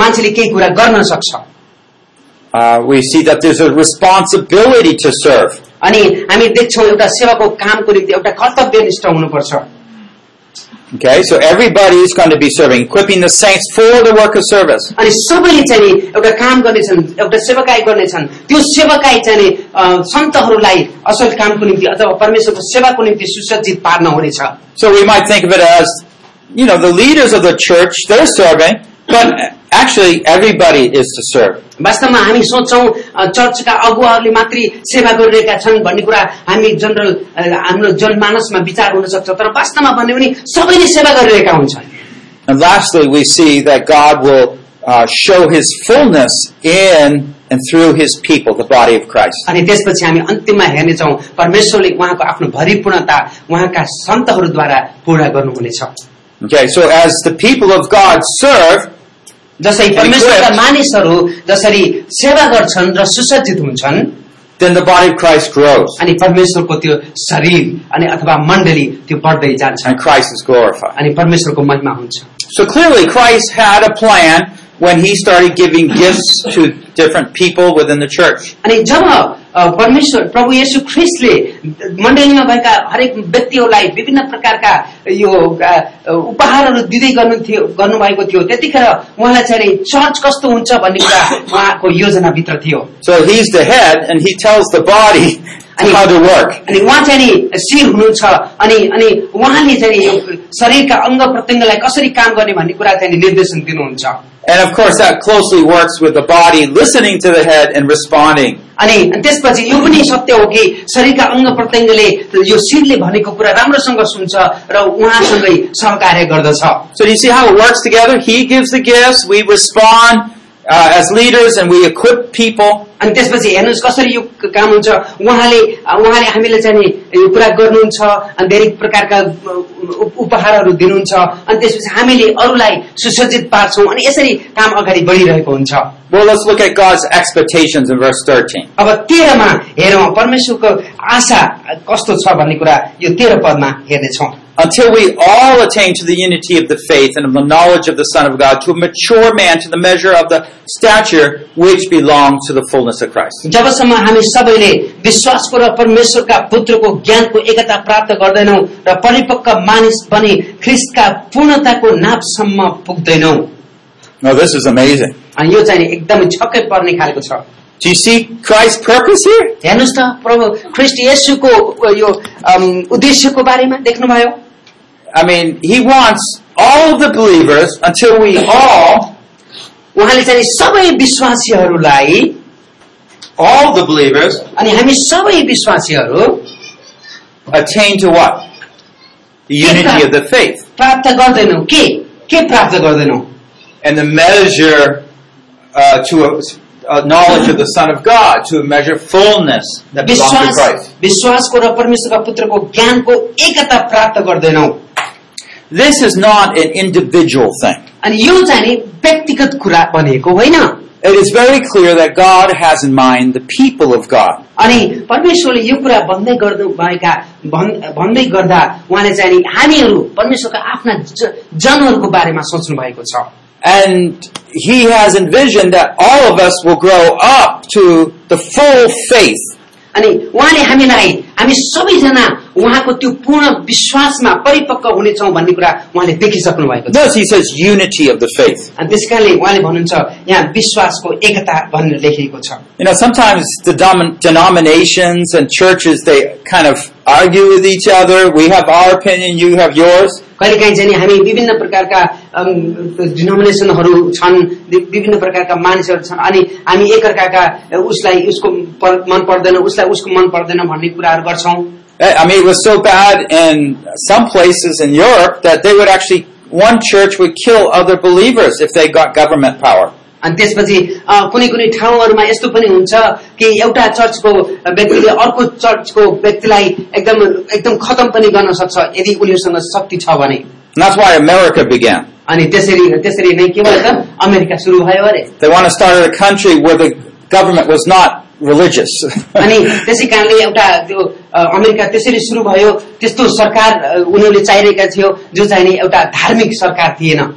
[SPEAKER 2] मान्छेले केही कुरा गर्न सक्छ
[SPEAKER 1] Uh, we see that there's a responsibility to serve.
[SPEAKER 2] अनि हामी देख्छौँ एउटा सेवाको कामको निम्ति एउटा कर्तव्यनिष्ठ हुनुपर्छ
[SPEAKER 1] Okay, so everybody is going to be serving, equipping the saints for the work of service.
[SPEAKER 2] अनि सबैले चाहिँ नि एउटा काम गर्नेछन् एउटा सेवाकाई गर्नेछन् त्यो सेवाकाई चाहिँ नि अ, सन्तहरूलाई असल कामको निम्ति अथवा परमेश्वरको सेवाको निम्ति सुसज्जित पार्न हुनेछ
[SPEAKER 1] So we might think of it as, you know, the leaders of the church, they're serving, but actually everybody is to serve.
[SPEAKER 2] वास्तवमा हामी सोच्छौँ अ, चर्चका अगुवाहरूले मात्रै सेवा गरिरहेका छन् भन्ने कुरा हामी जनरल अ, हाम्रो जनमानसमा विचार हुन सक्छ तर वास्तवमा भन्यो भने सबैले सेवा गरिरहेका हुन्छन्
[SPEAKER 1] And lastly, we see that God will uh, show his fullness in and through his people, the body of Christ.
[SPEAKER 2] अनि त्यसपछि हामी अन्तिममा हेर्नेछौँ परमेश्वरले उहाँको आफ्नो भरिपूर्णता उहाँका सन्तहरूद्वारा पूरा गर्नुहुनेछ
[SPEAKER 1] Okay, so as the people of God serve,
[SPEAKER 2] जसरी
[SPEAKER 1] And
[SPEAKER 2] परमेश्वरका
[SPEAKER 1] equipped.
[SPEAKER 2] मानिसहरू जसरी सेवा गर्छन् र सुसज्जित हुन्छन्
[SPEAKER 1] then the body of Christ grows
[SPEAKER 2] अनि परमेश्वरको त्यो शरीर अनि अथवा मण्डली त्यो बढ्दै जान्छ
[SPEAKER 1] and Christ is glorified.
[SPEAKER 2] अनि परमेश्वरको महिमा हुन्छ
[SPEAKER 1] So clearly, Christ had a plan when he started giving gifts to different people within the church.
[SPEAKER 2] अनि जब अ, परमेश्वर प्रभु येशू ख्रिस्टले मण्डलीमा भएका हरेक व्यक्तिहरूलाई विभिन्न प्रकारका यो अ, उपहारहरू दिँदै गर्नुहुन्थ्यो गर्नुभएको थियो त्यतिखेर उहाँलाई चाहिँ नि चर्च कस्तो हुन्छ भन्ने कुरा उहाँको योजनाभित्र थियो
[SPEAKER 1] So he's the head and he tells the body how to work.
[SPEAKER 2] अनि उहाँ चाहिँ नि शिर हुनुहुन्छ अनि अनि उहाँले चाहिँ नि यो शरीरका अङ्ग प्रत्यङ्गलाई कसरी काम गर्ने भन्ने कुरा चाहिँ नि निर्देशन दिनुहुन्छ
[SPEAKER 1] And of course that closely works with the body listening to the head and responding.
[SPEAKER 2] अनि त्यसपछि यो पनि सत्य हो कि शरीरका अङ्ग प्रत्यङ्गले यो शिरले भनेको कुरा राम्रोसँग सुन्छ र उहाँसँगै सहकार्य गर्दछ
[SPEAKER 1] So do you see how it works together? He gives the gifts, we respond uh, as leaders and we equip people.
[SPEAKER 2] अनि त्यसपछि हेर्नुहोस् कसरी यो काम हुन्छ उहाँले उहाँले हामीलाई चाहिँ नि यो कुरा गर्नुहुन्छ अनि धेरै प्रकारका उप- उपहारहरू दिनुहुन्छ अनि त्यसपछि हामीले अरूलाई सुसज्जित पार्छौँ अनि यसरी काम अगाडि बढिरहेको हुन्छ
[SPEAKER 1] Well, let's look at God's expectations in verse 13.
[SPEAKER 2] अब तेह्रमा हेरौँ परमेश्वरको आशा कस्तो छ भन्ने कुरा यो तेह्र Padma हेर्नेछौँ
[SPEAKER 1] Until we all attain to the unity of the faith and of the knowledge of the Son of God, to a mature man, to the measure of the stature which belongs to the fullness of Christ.
[SPEAKER 2] जबसम्म हामी सबैले विश्वासको र परमेश्वरका पुत्रको ज्ञानको एकता प्राप्त गर्दैनौ र परिपक्व मानिस पनि ख्रिस्टका पूर्णताको नापसम्म पुग्दैनौ
[SPEAKER 1] Now, Oh, this is amazing.
[SPEAKER 2] अनि यो चाहिँ नि एकदमै छक्कै पर्ने खालको छ
[SPEAKER 1] Do you see Christ's purpose here?
[SPEAKER 2] हेर्नुहोस् त प्रभु ख्रिस्ट येशूको यो अम, उद्देश्यको बारेमा देख्नुभयो
[SPEAKER 1] I mean, he wants all of the believers until we all,
[SPEAKER 2] उहाँले चाहिँ नि सबै विश्वासीहरूलाई
[SPEAKER 1] all the believers,
[SPEAKER 2] अनि हामी सबै विश्वासीहरू
[SPEAKER 1] attain to what? The unity of the faith
[SPEAKER 2] प्राप्त गर्दैनौ के के प्राप्त गर्दैनौ
[SPEAKER 1] and the measure uh, to a, a knowledge of the Son of God, to a measure fullness that belongs to
[SPEAKER 2] विश्वास
[SPEAKER 1] Christ.
[SPEAKER 2] विश्वासको र परमेश्वरका पुत्रको ज्ञानको एकता प्राप्त गर्दैनौ
[SPEAKER 1] This is not an individual thing.
[SPEAKER 2] अनि यो चाहिँ नि व्यक्तिगत कुरा भनेको होइन
[SPEAKER 1] It is very clear that God has in mind the people of God.
[SPEAKER 2] अनि परमेश्वरले यो कुरा भन्दै गर्दै भएका भन्- भन्दै गर्दा उहाँले चाहिँ नि हामीहरू परमेश्वरका आफ्ना ज- जनहरूको बारेमा सोच्नु भएको छ
[SPEAKER 1] And He has envisioned that all of us will grow up to the full faith
[SPEAKER 2] अनि उहाँले हामीलाई हामी सबैजना उहाँको त्यो पूर्ण विश्वासमा परिपक्व हुनेछौँ भन्ने कुरा उहाँले देखिसक्नु भएको छ
[SPEAKER 1] Notice he says unity of the faith.
[SPEAKER 2] अनि त्यस कारणले उहाँले भन्नुहुन्छ यहाँ विश्वासको एकता भनेर लेखिएको छ
[SPEAKER 1] You know, sometimes the dom- denominations and churches, they kind of argue with each other. We have our opinion, you have yours.
[SPEAKER 2] कहिलेकाहीँ चाहिँ नि हामी विभिन्न प्रकारका डिनोमिनेसनहरू छन् वि- विभिन्न प्रकारका मानिसहरू छन् अनि हामी एकअर्काका अ, उसलाई उसको पर- मन पर्दैन उसलाई उसको मन पर्दैन भन्ने कुराहरू गर्छौँ
[SPEAKER 1] I I mean, it was so bad in some places in Europe that they would actually, one church would kill other believers if they got government power.
[SPEAKER 2] अनि त्यसपछि अ, कुनै कुनै ठाउँहरूमा यस्तो पनि हुन्छ कि एउटा चर्चको व्यक्तिले अर्को चर्चको व्यक्तिलाई एकदम एकदम खतम पनि गर्न सक्छ यदि उनीहरूसँग शक्ति छ भने
[SPEAKER 1] And that's why America began.
[SPEAKER 2] अनि त्यसरी त्यसरी नै के भयो त अमेरिका सुरु भयो अरे
[SPEAKER 1] They want to start a country where the government was not religious.
[SPEAKER 2] अनि त्यसै कारणले एउटा त्यो अ, अमेरिका त्यसरी सुरु भयो त्यस्तो सरकार अ, उनीहरूले चाहिरहेका थियो जो चाहिँ नि एउटा धार्मिक सरकार थिएन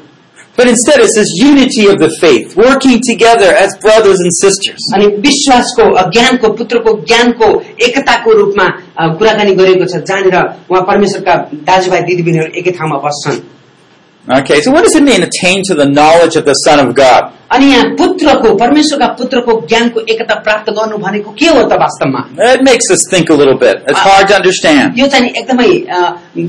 [SPEAKER 1] but instead it says unity of the faith, working together as brothers and sisters.
[SPEAKER 2] अनि विश्वासको अ, ज्ञानको पुत्रको ज्ञानको एकताको रूपमा अ, कुराकानी गरिएको छ जहाँनिर उहाँ परमेश्वरका दाजुभाइ दिदीबहिनीहरू एकै ठाउँमा बस्छन्
[SPEAKER 1] Okay, so what does it mean, attain to the knowledge of the Son of God?
[SPEAKER 2] अनि यहाँ पुत्रको परमेश्वरका पुत्रको ज्ञानको एकता प्राप्त गर्नु भनेको के हो त वास्तवमा
[SPEAKER 1] It makes us think a little bit. It's hard to understand.
[SPEAKER 2] यो चाहिँ नि एकदमै अ,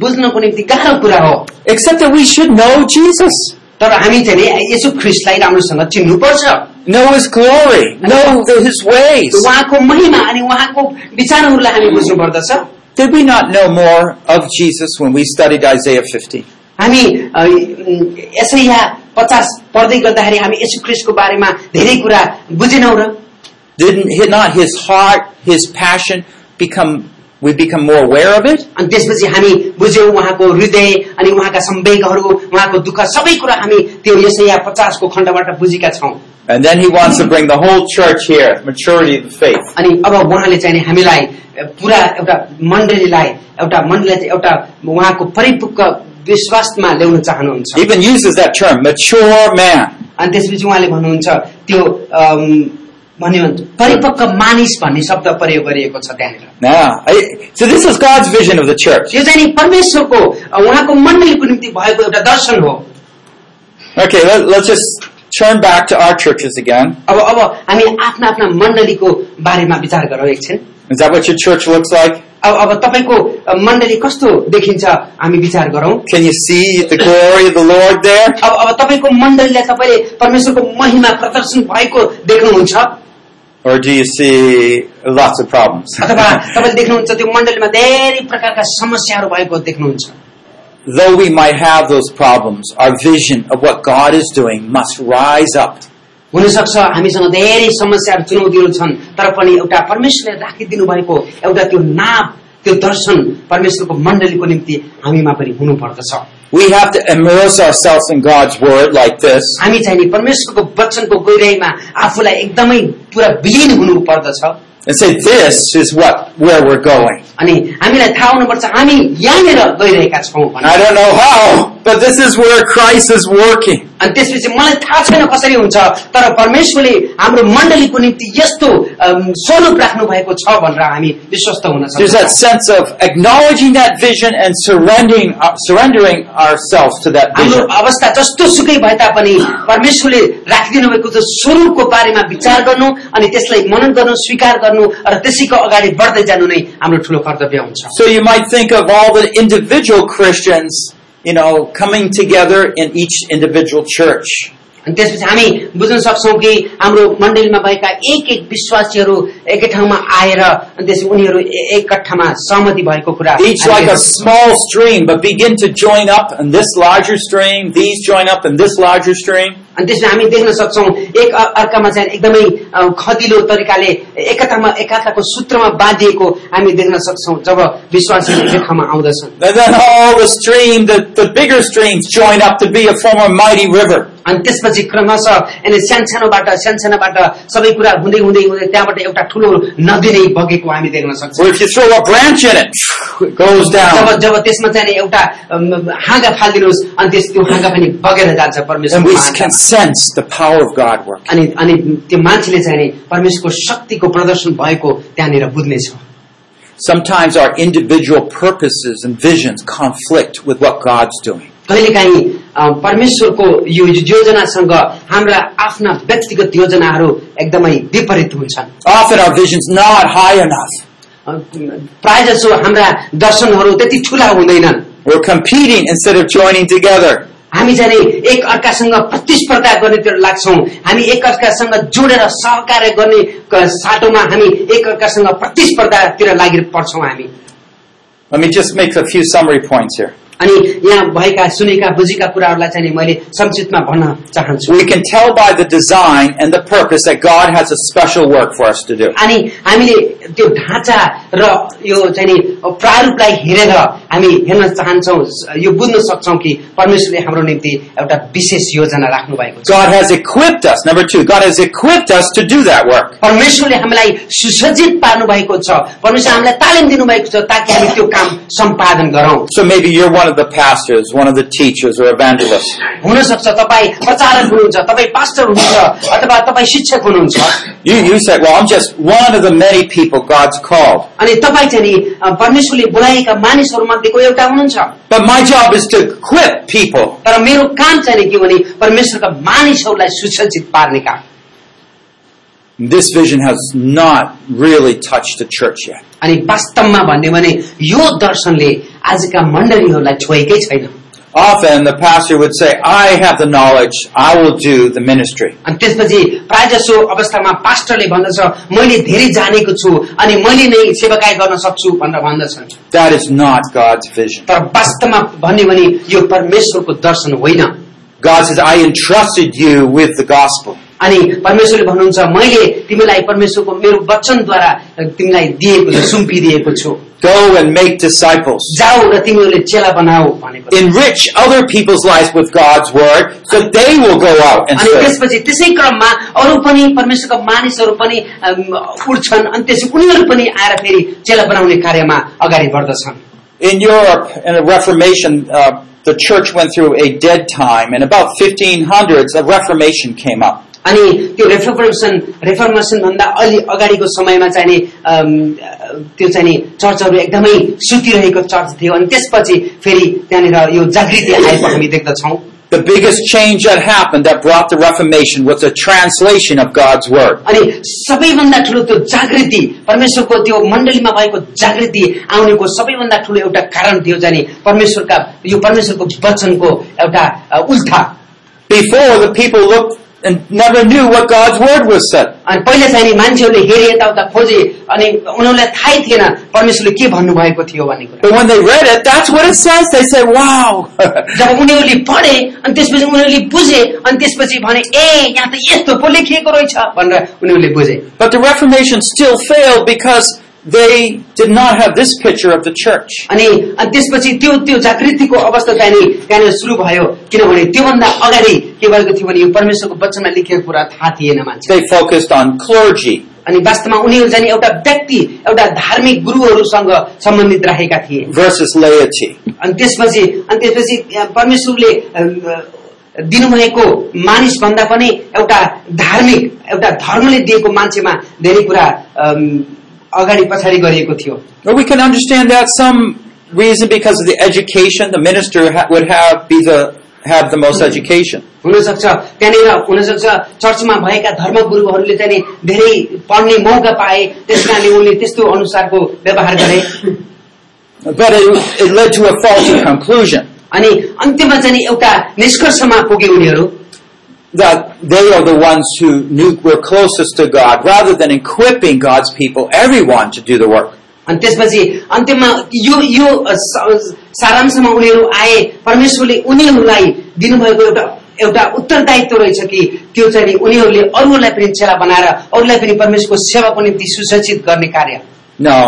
[SPEAKER 2] बुझ्नको निम्ति गाह्रो कुरा हो
[SPEAKER 1] Except that we should know Jesus,
[SPEAKER 2] तर हामी चाहिँ नि यसो ख्रिस्टलाई राम्रोसँग चिन्नुपर्छ
[SPEAKER 1] know His glory, know the- His ways.
[SPEAKER 2] उहाँको महिमा अनि उहाँको विचारहरूलाई हामी बुझ्नु पर्दछ
[SPEAKER 1] Did we not know more of Jesus when we studied Isaiah 50?
[SPEAKER 2] हामी अ, यसै यहाँ पचास पढ्दै गर्दाखेरि हामी यसु क्रिस्टको बारेमा धेरै कुरा बुझेनौँ र
[SPEAKER 1] Didn't hit not His heart, His passion become? We become more aware of it.
[SPEAKER 2] अनि त्यसपछि हामी बुझ्यौँ उहाँको हृदय अनि उहाँका सम्वेगहरू उहाँको दुःख सबै कुरा हामी त्यो यसै यहाँ पचासको खण्डबाट बुझेका छौँ
[SPEAKER 1] And then he wants to bring the whole church here, maturity of the faith.
[SPEAKER 2] अनि अब उहाँले चाहिँ नि हामीलाई पुरा एउटा मण्डलीलाई एउटा मण्डलीलाई चाहिँ एउटा उहाँको परिपक्व विश्वासमा ल्याउन चाहनुहुन्छ
[SPEAKER 1] He even uses that term, mature man.
[SPEAKER 2] अनि त्यसपछि उहाँले भन्नुहुन्छ त्यो अम, भन्यो परिपक्व मानिस भन्ने शब्द प्रयोग गरिएको छ त्यहाँनिर
[SPEAKER 1] Now, I, so this is God's vision of the church.
[SPEAKER 2] यो चाहिँ नि परमेश्वरको अ, उहाँको मण्डलीको निम्ति भएको एउटा दर्शन हो
[SPEAKER 1] Okay, let, let's just turn back to our churches again.
[SPEAKER 2] अब अब हामी आफ्ना आफ्ना मण्डलीको बारेमा विचार गरौँ एकछिन
[SPEAKER 1] Is that what your church looks like?
[SPEAKER 2] अब अब तपाईँको अ, मण्डली कस्तो देखिन्छ हामी विचार गरौँ
[SPEAKER 1] Can you see the glory of the Lord there?
[SPEAKER 2] अब अब तपाईँको मण्डलीलाई तपाईँले परमेश्वरको महिमा प्रदर्शन भएको देख्नुहुन्छ
[SPEAKER 1] Or do you see lots of problems?
[SPEAKER 2] अथवा तपाईँले देख्नुहुन्छ त्यो मण्डलीमा धेरै प्रकारका समस्याहरू भएको देख्नुहुन्छ
[SPEAKER 1] Though we might have those problems, our vision of what God is doing must rise up.
[SPEAKER 2] हुनसक्छ हामीसँग धेरै समस्याहरू चुनौतीहरू छन् तर पनि एउटा परमेश्वरले राखिदिनु भएको एउटा त्यो नाप त्यो दर्शन परमेश्वरको मण्डलीको निम्ति हामीमा पनि हुनुपर्दछ
[SPEAKER 1] We have to immerse ourselves in God's word like this,
[SPEAKER 2] हामी चाहिँ नि परमेश्वरको वचनको गहिराईमा आफूलाई एकदमै पुरा विलिन हुनु पर्दछ
[SPEAKER 1] and say, "This is what where we're going."
[SPEAKER 2] अनि हामीलाई थाहा हुनुपर्छ हामी यहाँनिर गइरहेका छौँ
[SPEAKER 1] And I
[SPEAKER 2] भनेर
[SPEAKER 1] don't know how, but this is where Christ is working.
[SPEAKER 2] अनि त्यसपछि मलाई थाहा छैन कसरी हुन्छ तर परमेश्वरले हाम्रो मण्डलीको निम्ति यस्तो अम, स्वरूप राख्नु भएको छ भनेर हामी विश्वस्त हुन
[SPEAKER 1] There's that
[SPEAKER 2] सक्छौँ
[SPEAKER 1] sense of acknowledging that vision and surrendering uh, surrendering ourselves to that
[SPEAKER 2] हाम्रो
[SPEAKER 1] vision.
[SPEAKER 2] अवस्था जस्तो सुकै भए तापनि परमेश्वरले राखिदिनु भएको त्यो स्वरूपको बारेमा विचार गर्नु अनि त्यसलाई मनन गर्नु स्वीकार गर्नु र त्यसैको अगाडि बढ्दै जानु नै हाम्रो ठुलो कर्तव्य हुन्छ
[SPEAKER 1] So you might think of all the individual Christians, you know, coming together in each individual church.
[SPEAKER 2] अनि त्यसपछि हामी बुझ्न सक्छौ कि हाम्रो मण्डलीमा भएका एक एक विश्वासीहरू एकै ठाउँमा आएर अनि त्यसपछि उनीहरू ए- एकठामा सहमति भएको कुरा
[SPEAKER 1] Each
[SPEAKER 2] हामी
[SPEAKER 1] like a
[SPEAKER 2] देख्छौं।
[SPEAKER 1] small stream, but begin to join up in this larger stream, these join up in this larger stream.
[SPEAKER 2] अनि त्यसमा हामी देख्न सक्छौ एक अ- अर्कामा चाहिँ एकदमै अ, खदिलो तरिकाले एकतामा एकाताको सूत्रमा बाँधिएको हामी देख्न सक्छौ जब विश्वासीहरू एक ठाउँमा आउँदछन्
[SPEAKER 1] And then all the stream, the, the bigger streams join up to be a form of mighty river.
[SPEAKER 2] अनि त्यसपछि क्रमशः यिनी सानसानोबाट सानसानोबाट सबै कुरा हुँदै हुँदै हुँदै त्यहाँबाट एउटा ठुलो नदी नै बगेको हामी देख्न सक्छौँ
[SPEAKER 1] Where if you throw a branch in it, it goes
[SPEAKER 2] जब
[SPEAKER 1] down.
[SPEAKER 2] जब त्यसमा चाहिँ एउटा अम, हाँगा फालिदिनुहोस् अनि त्यस त्यो हाँगा पनि बगेर जान्छ
[SPEAKER 1] And we
[SPEAKER 2] परमेश्वर
[SPEAKER 1] can sense the power of God working.
[SPEAKER 2] अनि अनि त्यो मान्छेले चाहिँ नि परमेश्वरको शक्तिको प्रदर्शन भएको त्यहाँनिर बुझ्नेछ
[SPEAKER 1] Sometimes our individual purposes and visions conflict with what God's doing.
[SPEAKER 2] कहिलेकाहीँ अ, परमेश्वरको यो योजनासँग हाम्रा आफ्ना व्यक्तिगत योजनाहरू एकदमै विपरीत हुन्छन्
[SPEAKER 1] Often our vision's not high enough.
[SPEAKER 2] अ, प्राय जसो हाम्रा दर्शनहरू त्यति ठुला हुँदैनन्
[SPEAKER 1] We're competing instead of joining together.
[SPEAKER 2] हामी जाने एक अर्कासँग प्रतिस्पर्धा गर्नेतिर लाग्छौँ हामी एक अर्कासँग जोडेर सहकार्य गर्ने क- साटोमा हामी एक अर्कासँग प्रतिस्पर्धातिर लागि पर्छौँ हामी
[SPEAKER 1] Let me just make a few summary points here.
[SPEAKER 2] अनि यहाँ भएका सुनेका बुझेका कुराहरूलाई चाहिँ नि मैले संक्षिप्तमा भन्न चाहन्छु
[SPEAKER 1] We can tell by the design and the purpose that God has a special work for us to do.
[SPEAKER 2] अनि हामीले त्यो ढाँचा र यो चाहिँ नि प्रारूपलाई हेरेर हामी हेर्न चाहन्छौ यो बुझ्न सक्छौ कि परमेश्वरले हाम्रो निम्ति एउटा विशेष योजना राख्नु भएको छ
[SPEAKER 1] God has equipped us. Number two, God has equipped us to do that work.
[SPEAKER 2] परमेश्वरले हामीलाई सुसज्जित पार्नु भएको छ परमेश्वर हामीलाई तालिम दिनुभएको छ ताकि हामी त्यो काम सम्पादन गरौँ
[SPEAKER 1] So maybe you're one of the pastors, one of the teachers, or evangelists.
[SPEAKER 2] हुनसक्छ तपाईँ प्रचारक हुनुहुन्छ तपाईँ पास्टर हुनुहुन्छ अथवा तपाईँ शिक्षक हुनुहुन्छ
[SPEAKER 1] You, you say, well, I'm just one of the many people God's called.
[SPEAKER 2] अनि तपाईँ चाहिँ नि अ, परमेश्वरले बोलाएका मानिसहरू मध्येको एउटा हुनुहुन्छ
[SPEAKER 1] But my job is to equip people
[SPEAKER 2] तर मेरो काम चाहिँ नि के भने परमेश्वरका मानिसहरूलाई सुसज्जित पार्ने काम
[SPEAKER 1] This vision has not really touched the church yet.
[SPEAKER 2] अनि वास्तवमा भन्ने भने यो दर्शनले आजका मण्डलीहरूलाई छोएकै छैन
[SPEAKER 1] Often the pastor would say, I have the knowledge, I will do the ministry.
[SPEAKER 2] अनि त्यसपछि प्रायजसो अवस्थामा पास्टरले भन्दछ मैले धेरै जानेको छु अनि मैले नै सेवाकाय गर्न सक्छु भनेर भन्दछन्
[SPEAKER 1] That is not God's vision.
[SPEAKER 2] तर वास्तवमा भन्ने भने यो परमेश्वरको दर्शन होइन
[SPEAKER 1] God says, I entrusted you with the gospel.
[SPEAKER 2] अनि परमेश्वरले भन्नुहुन्छ मैले तिमीलाई परमेश्वरको मेरो वचनद्वारा तिमीलाई दिएको छु, सुम्पिदिएको छु
[SPEAKER 1] Go and make disciples.
[SPEAKER 2] जाऊ र तिमीहरूले चेला बनाऊ भनेको छ।
[SPEAKER 1] Enrich other people's lives with God's word so they will go out and
[SPEAKER 2] अनि
[SPEAKER 1] serve.
[SPEAKER 2] त्यसपछि त्यसै क्रममा अरू पनि परमेश्वरका मानिसहरू पनि अम, उठ्छन् अनि त्यसपछि उनीहरू पनि आएर फेरि चेला बनाउने कार्यमा अगाडि बढ्दछन्
[SPEAKER 1] in Europe, in the Reformation, uh, the church went through a dead time, and about 1500s, a Reformation came up.
[SPEAKER 2] अनि त्यो रेफर्मेसन रेफर्मेसन भन्दा अलि अगाडिको समयमा चाहिँ नि अम, त्यो चाहिँ नि चर्चहरू एकदमै सुतिरहेको चर्च थियो अनि त्यसपछि फेरि त्यहाँनिर यो जागृति आएको हामी देख्दछौँ
[SPEAKER 1] The biggest change that happened that brought the Reformation was a translation of God's Word.
[SPEAKER 2] अनि सबैभन्दा ठुलो त्यो जागृति परमेश्वरको त्यो मण्डलीमा भएको जागृति आउनेको सबैभन्दा ठुलो एउटा कारण थियो जाने परमेश्वरका यो परमेश्वरको वचनको एउटा अ, उल्था
[SPEAKER 1] Before, the people looked and never knew what God's Word was said.
[SPEAKER 2] अनि पहिला चाहिँ नि मान्छेहरूले हेरे यताउता खोजे अनि उनीहरूलाई थाहै थिएन परमेश्वरले के भन्नुभएको थियो भन्ने कुरा
[SPEAKER 1] But when they read it, that's what it says. They said, wow.
[SPEAKER 2] जब उनीहरूले पढे अनि त्यसपछि उनीहरूले बुझे अनि त्यसपछि भने ए यहाँ त यस्तो पो लेखिएको रहेछ भनेर उनीहरूले बुझे
[SPEAKER 1] but the Reformation still failed because they did not have this picture of the church.
[SPEAKER 2] अनि अनि त्यसपछि त्यो त्यो जागृतिको अवस्था चाहिँ नि त्यहाँनिर सुरु भयो किनभने त्योभन्दा अगाडि के भएको थियो भने यो परमेश्वरको वचनमा लेखिएको कुरा थाहा थिएन मान्छे
[SPEAKER 1] They focused on clergy.
[SPEAKER 2] अनि वास्तवमा उनीहरू चाहिँ नि एउटा व्यक्ति एउटा धार्मिक गुरुहरूसँग सम्बन्धित राखेका थिए
[SPEAKER 1] versus laity.
[SPEAKER 2] अनि त्यसपछि अनि त्यसपछि परमेश्वरले अम, दिनुभएको मानिस भन्दा पनि एउटा धार्मिक एउटा धर्मले दिएको मान्छेमा धेरै कुरा अम, अगाडि पछाडि गरिएको थियो
[SPEAKER 1] But we can understand that some reason because of the education the minister ha- would have be the have the most education.
[SPEAKER 2] हुनसक्छ त्यहाँनिर हुनसक्छ चर्चमा भएका धर्म गुरुहरूले चाहिँ नि धेरै पढ्ने मौका पाए त्यस कारणले उनले त्यस्तो अनुसारको व्यवहार गरे
[SPEAKER 1] But it, it led to a faulty conclusion
[SPEAKER 2] अनि अन्त्यमा चाहिँ नि एउटा निष्कर्षमा पुगे उनीहरू
[SPEAKER 1] that they are the ones who knew were closest to God, rather than equipping God's people, everyone, to do the work.
[SPEAKER 2] अनि त्यसपछि अन्त्यमा यो यो स- सारांशमा उनीहरू आए परमेश्वरले उनीहरूलाई दिनुभएको एउटा एउटा उत्तरदायित्व रहेछ कि त्यो चाहिँ नि उनीहरूले अरूलाई पनि चेला बनाएर अरूलाई पनि परमेश्वरको सेवाको निम्ति सुसज्जित गर्ने कार्य
[SPEAKER 1] No.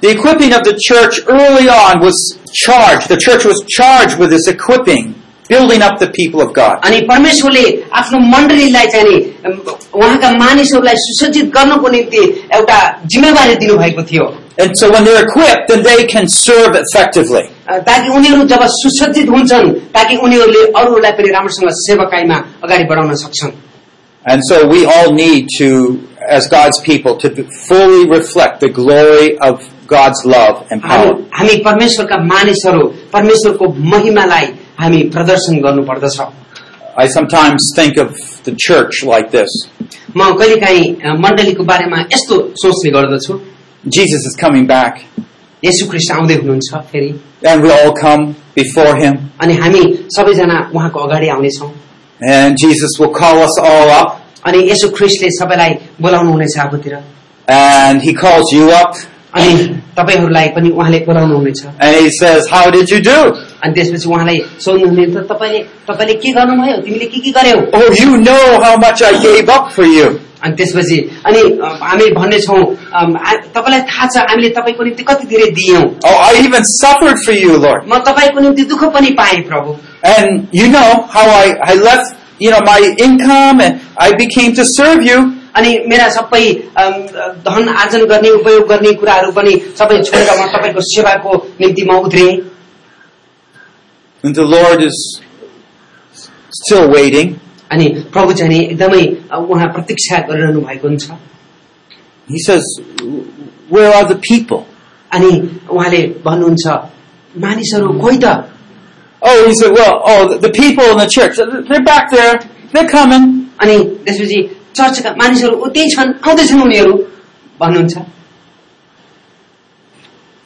[SPEAKER 1] The equipping of the church early on was charged. The church was charged with this equipping, building up the people of God.
[SPEAKER 2] अनि परमेश्वरले आफ्नो मण्डलीलाई चाहिँ नि अम, उहाँका मानिसहरूलाई सुसज्जित गर्नको निम्ति एउटा जिम्मेवारी दिनुभएको थियो
[SPEAKER 1] And so when they're equipped, then they can serve effectively.
[SPEAKER 2] अ, ताकि उनीहरू जब सुसज्जित हुन्छन् ताकि उनीहरूले अरूहरूलाई पनि राम्रोसँग सेवाकाईमा अगाडि बढाउन सक्छन्
[SPEAKER 1] And so we all need to, as God's people, to fully reflect the glory of God's love and
[SPEAKER 2] हामी
[SPEAKER 1] power.
[SPEAKER 2] हामी परमेश्वरका मानिसहरू परमेश्वरको महिमालाई हामी प्रदर्शन गर्नुपर्दछ
[SPEAKER 1] I sometimes think of the church like this.
[SPEAKER 2] म कहिलेकाहीँ अ, मण्डलीको बारेमा यस्तो सोच्ने गर्दछु
[SPEAKER 1] Jesus is coming back,
[SPEAKER 2] येशू ख्रिस्ट आउँदै हुनुहुन्छ फेरि
[SPEAKER 1] and we all come before him,
[SPEAKER 2] अनि हामी सबैजना उहाँको अगाडि आउनेछौँ
[SPEAKER 1] and Jesus will call us all up,
[SPEAKER 2] अनि यसो ख्रिस्टले सबैलाई बोलाउनु हुनेछ आफूतिर
[SPEAKER 1] and he calls you up,
[SPEAKER 2] अनि तपाईँहरूलाई पनि उहाँले बोलाउनु हुनेछ
[SPEAKER 1] and he says, How did you do?
[SPEAKER 2] अनि त्यसपछि उहाँलाई सोध्नुहुनेछ तपाईँले तपाईँले के गर्नुभयो तिमीले के के गर्यौ
[SPEAKER 1] Oh, you know how much I gave up for you.
[SPEAKER 2] अनि त्यसपछि अनि अ, हामी भन्नेछौँ अम, आ- तपाईँलाई थाहा छ हामीले तपाईँको निम्ति कति धेरै दियौँ
[SPEAKER 1] Oh, I even suffered for you, Lord.
[SPEAKER 2] म तपाईँको निम्ति दुःख पनि पाएँ प्रभु
[SPEAKER 1] And you know how I, I left, you know, my income and I became to serve you.
[SPEAKER 2] अनि मेरा सबै अम, धन आर्जन गर्ने उपयोग गर्ने कुराहरू पनि सबै छोडेर म तपाईँको सेवाको निम्ति म उत्रेँ
[SPEAKER 1] And the Lord is still waiting.
[SPEAKER 2] अनि प्रभु चाहिँ नि एकदमै अ, उहाँ प्रतीक्षा गरिरहनु भएको हुन्छ
[SPEAKER 1] He says, Where are the people?
[SPEAKER 2] अनि उहाँले भन्नुहुन्छ मानिसहरू कोही त
[SPEAKER 1] Oh, he said, Well, oh, the the people in the church, they're back there. They're coming.
[SPEAKER 2] अनि त्यसपछि चर्चका मानिसहरू उतै छन् आउँदैछन् उनीहरू भन्नुहुन्छ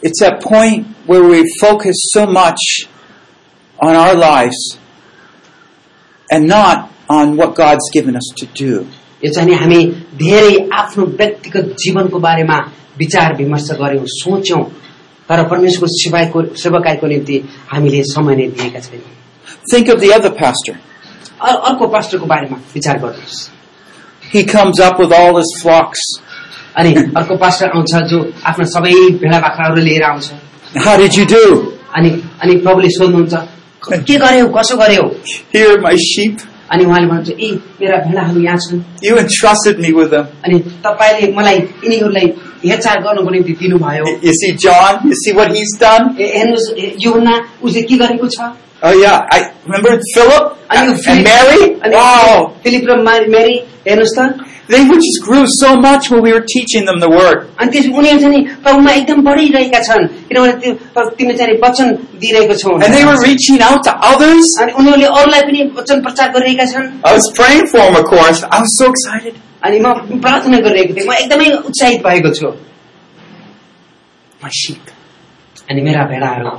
[SPEAKER 1] It's that point where we focus so much on our lives and not on what God's given us to do.
[SPEAKER 2] यो चाहिँ नि हामी धेरै आफ्नो व्यक्तिगत जीवनको बारेमा विचार विमर्श गर्यौँ सोच्यौँ तर परमेश्वरको सेवाको सेवाकाईको निम्ति हामीले समय नै दिएका छैनौँ
[SPEAKER 1] Think of the other pastor.
[SPEAKER 2] अ- अर्को पास्टरको बारेमा विचार गर्नुहोस्
[SPEAKER 1] He comes up with all his flocks.
[SPEAKER 2] अनि अर्को पास्टर आउँछ जो आफ्ना सबै भेडा बाख्राहरू लिएर आउँछ
[SPEAKER 1] How did you do?
[SPEAKER 2] अनि अनि प्रभुले सोध्नुहुन्छ के गर्यौ कसो गर्यौ
[SPEAKER 1] Here are my sheep.
[SPEAKER 2] अनि उहाँले भन्नुहुन्छ ए मेरा भेडाहरू यहाँ छन्
[SPEAKER 1] You entrusted me with them.
[SPEAKER 2] अनि तपाईँले मलाई यिनीहरूलाई हेरचाह गर्नुको निम्ति दिनुभयो
[SPEAKER 1] You see John? You see what he's done?
[SPEAKER 2] ए- हेर्नुहोस् ए, यो हुना उसले के गरेको छ
[SPEAKER 1] Oh yeah, I remember Philip
[SPEAKER 2] अनि यो
[SPEAKER 1] and,
[SPEAKER 2] फिलिप-
[SPEAKER 1] Mary.
[SPEAKER 2] अनि
[SPEAKER 1] Wow,
[SPEAKER 2] फिलिप र मा- मेरी हेर्नुहोस् त
[SPEAKER 1] they just grew so much when we were teaching them the word.
[SPEAKER 2] अनि त्यस उनीहरू चाहिँ नि प्रभुमा एकदम बढिरहेका छन् किनभने त्यो प्रभु तिमी चाहिँ नि वचन दिइरहेको छौ
[SPEAKER 1] And they were reaching out to others.
[SPEAKER 2] अनि उनीहरूले अरूलाई पनि वचन प्रचार गरिरहेका छन्
[SPEAKER 1] I was praying for them, of course. I was so excited.
[SPEAKER 2] अनि म प्रार्थना गरिरहेको थिएँ म एकदमै उत्साहित भएको छु
[SPEAKER 1] My sheep.
[SPEAKER 2] अनि मेरा भेडाहरू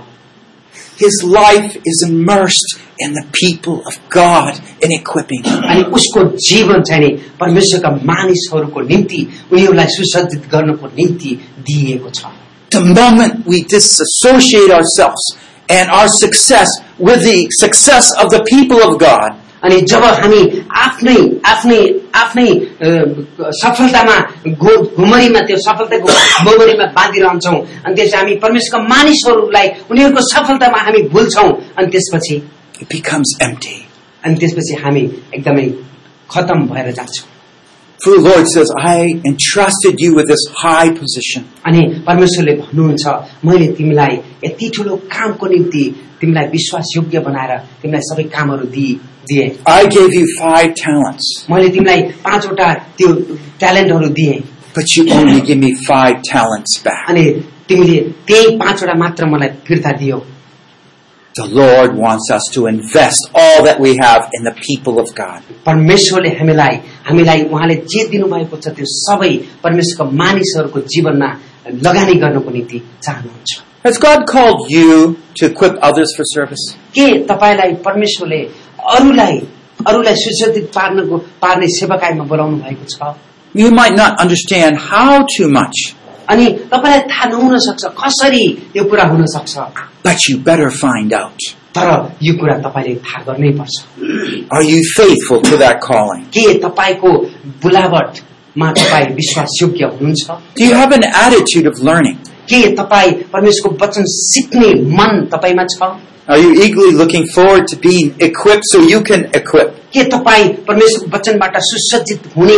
[SPEAKER 1] His life is immersed in the people of God in equipping them.
[SPEAKER 2] अनि उसको जीवन चाहिँ नि परमेश्वरका मानिसहरूको निम्ति उनीहरूलाई सुसज्जित गर्नको निम्ति दिइएको छ
[SPEAKER 1] The moment we disassociate ourselves and our success with the success of the people of God,
[SPEAKER 2] अनि जब हामी आफ्नै आफ्नै आफ्नै अ, सफलतामा गो घुमरीमा त्यो सफलताको गोमरीमा बाँधिरहन्छौँ अनि त्यसपछि हामी परमेश्वरका मानिसहरूलाई उनीहरूको सफलतामा हामी भुल्छौँ अनि त्यसपछि
[SPEAKER 1] it becomes empty.
[SPEAKER 2] अनि त्यसपछि हामी एकदमै खतम भएर जान्छौँ
[SPEAKER 1] For the Lord says, I entrusted you with this high position.
[SPEAKER 2] अनि परमेश्वरले भन्नुहुन्छ मैले तिमीलाई यति ठुलो कामको निम्ति तिमीलाई विश्वास योग्य बनाएर तिमीलाई सबै कामहरू दिए दिए
[SPEAKER 1] I gave you five talents,
[SPEAKER 2] मैले तिमीलाई पाँचवटा त्यो ट्यालेन्टहरू दिएँ
[SPEAKER 1] but you only give me five talents back.
[SPEAKER 2] अनि तिमीले त्यही पाँचवटा मात्र मलाई फिर्ता दियो
[SPEAKER 1] The Lord wants us to invest all that we have in the people of God.
[SPEAKER 2] परमेश्वरले हामीलाई हामीलाई उहाँले जे दिनुभएको छ त्यो सबै परमेश्वरको मानिसहरूको जीवनमा लगानी गर्नको निम्ति चाहनुहुन्छ
[SPEAKER 1] Has God called you to equip others for service?
[SPEAKER 2] के तपाईँलाई परमेश्वरले अरूलाई अरूलाई सुसज्जित पार्नको पार्ने सेवाकायमा बोलाउनु भएको छ
[SPEAKER 1] You might not understand how too much,
[SPEAKER 2] अनि तपाईँलाई थाहा नहुन सक्छ कसरी यो कुरा हुन सक्छ
[SPEAKER 1] but you better find out.
[SPEAKER 2] तर यो कुरा तपाईँले थाहा गर्नै पर्छ
[SPEAKER 1] Are you faithful to that calling?
[SPEAKER 2] के तपाईँको बोलावटमा तपाईँ विश्वासयोग्य हुनुहुन्छ
[SPEAKER 1] Do you have an attitude of learning?
[SPEAKER 2] के तपाईँ परमेश्वरको वचन सिक्ने मन तपाईँमा छ
[SPEAKER 1] Are you eagerly looking forward to being equipped so you can equip?
[SPEAKER 2] के तपाईँ परमेश्वरको वचनबाट सुसज्जित हुने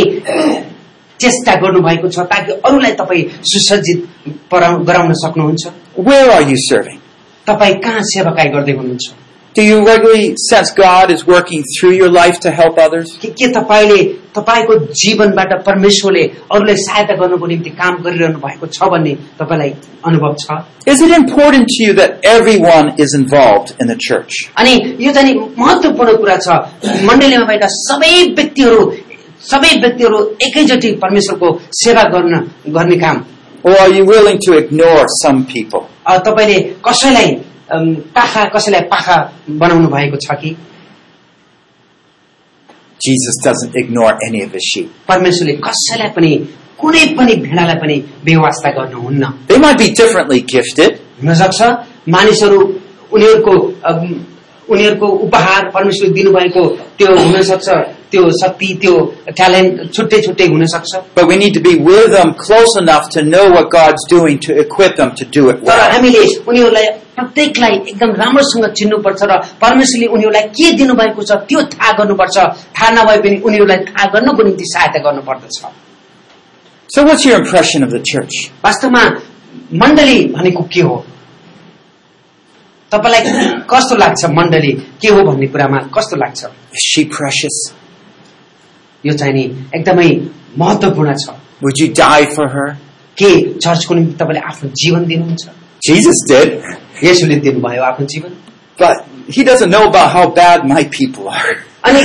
[SPEAKER 2] चेष्टा गर्नुभएको छ ताकि अरूलाई तपाईँ सुसज्जित पराउ- गराउन सक्नुहुन्छ
[SPEAKER 1] Where are you serving?
[SPEAKER 2] तपाईँ कहाँ सेवाकाई गर्दै हुनुहुन्छ
[SPEAKER 1] Do you regularly sense God is working through your life to help others?
[SPEAKER 2] कि के तपाईँले तपाईँको जीवनबाट परमेश्वरले अरूलाई सहायता गर्नुको निम्ति काम गरिरहनु भएको छ भन्ने तपाईँलाई अनुभव छ
[SPEAKER 1] Is it important to you that everyone is involved in the church?
[SPEAKER 2] अनि यो चाहिँ नि महत्वपूर्ण कुरा छ मण्डलीमा भएका सबै व्यक्तिहरू सबै व्यक्तिहरू एकैचोटि परमेश्वरको सेवा गर्न गर्ने काम
[SPEAKER 1] Or are you willing to ignore some people?
[SPEAKER 2] अ, तपाईँले कसैलाई अम, पाखा कसैलाई पाखा बनाउनु भएको छ कि
[SPEAKER 1] Jesus doesn't ignore any of his sheep.
[SPEAKER 2] परमेश्वरले कसैलाई पनि कुनै पनि भेडालाई पनि बेवास्ता गर्नुहुन्न
[SPEAKER 1] They might be differently gifted,
[SPEAKER 2] हुनसक्छ मानिसहरू उनीहरूको अम, उनीहरूको उपहार परमेश्वरले दिनुभएको त्यो हुनसक्छ त्यो शक्ति त्यो ट्यालेन्ट छुट्टै छुट्टै हुनसक्छ
[SPEAKER 1] but we need to be with them close enough to know what God's doing to equip them to do it
[SPEAKER 2] तर
[SPEAKER 1] well.
[SPEAKER 2] हामीले उनीहरूलाई प्रत्येकलाई एकदम राम्रोसँग चिन्नुपर्छ र परमेश्वरले उनीहरूलाई के दिनुभएको छ त्यो थाहा गर्नुपर्छ थाहा नभए पनि उनीहरूलाई थाहा गर्नको निम्ति सहायता गर्नुपर्दछ
[SPEAKER 1] So what's your impression of the church?
[SPEAKER 2] वास्तवमा मण्डली भनेको के हो तपाईँलाई कस्तो लाग्छ मण्डली के हो भन्ने कुरामा कस्तो लाग्छ
[SPEAKER 1] Is she precious?
[SPEAKER 2] यो चाहिँ नि एकदमै महत्वपूर्ण छ
[SPEAKER 1] Would you die for her?
[SPEAKER 2] के चर्चको निम्ति तपाईँले आफ्नो जीवन दिनुहुन्छ
[SPEAKER 1] Jesus did,
[SPEAKER 2] यसोले दिनुभयो आफ्नो जीवन
[SPEAKER 1] but he doesn't know about how bad my people are.
[SPEAKER 2] अनि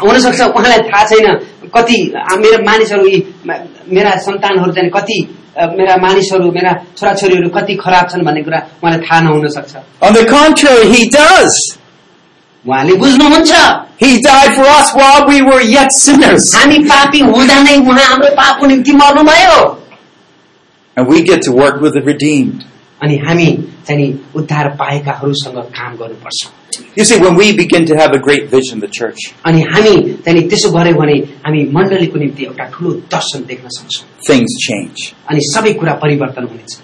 [SPEAKER 2] हुनसक्छ उहाँलाई थाहा छैन कति आ- मेरा मानिसहरू यी मा- मेरा सन्तानहरू चाहिँ कति अ, मेरा मानिसहरू मेरा छोराछोरीहरू कति खराब छन् भन्ने कुरा उहाँलाई थाहा नहुन सक्छ
[SPEAKER 1] On the contrary, he does.
[SPEAKER 2] उहाँले बुझ्नुहुन्छ
[SPEAKER 1] He died for us while we were yet sinners.
[SPEAKER 2] हामी पापी हुँदा नै उहाँ हाम्रो पापको निम्ति मर्नुभयो
[SPEAKER 1] And we get to work with the redeemed.
[SPEAKER 2] अनि हामी चाहिँ नि उद्धार पाएकाहरूसँग काम गर्नुपर्छ
[SPEAKER 1] You see, when we begin to have a great vision of the church,
[SPEAKER 2] अनि हामी त्यहाँनिर त्यसो गर्यो भने हामी मण्डलीको निम्ति एउटा ठुलो दर्शन देख्न सक्छौँ
[SPEAKER 1] things change.
[SPEAKER 2] अनि सबै कुरा परिवर्तन हुनेछ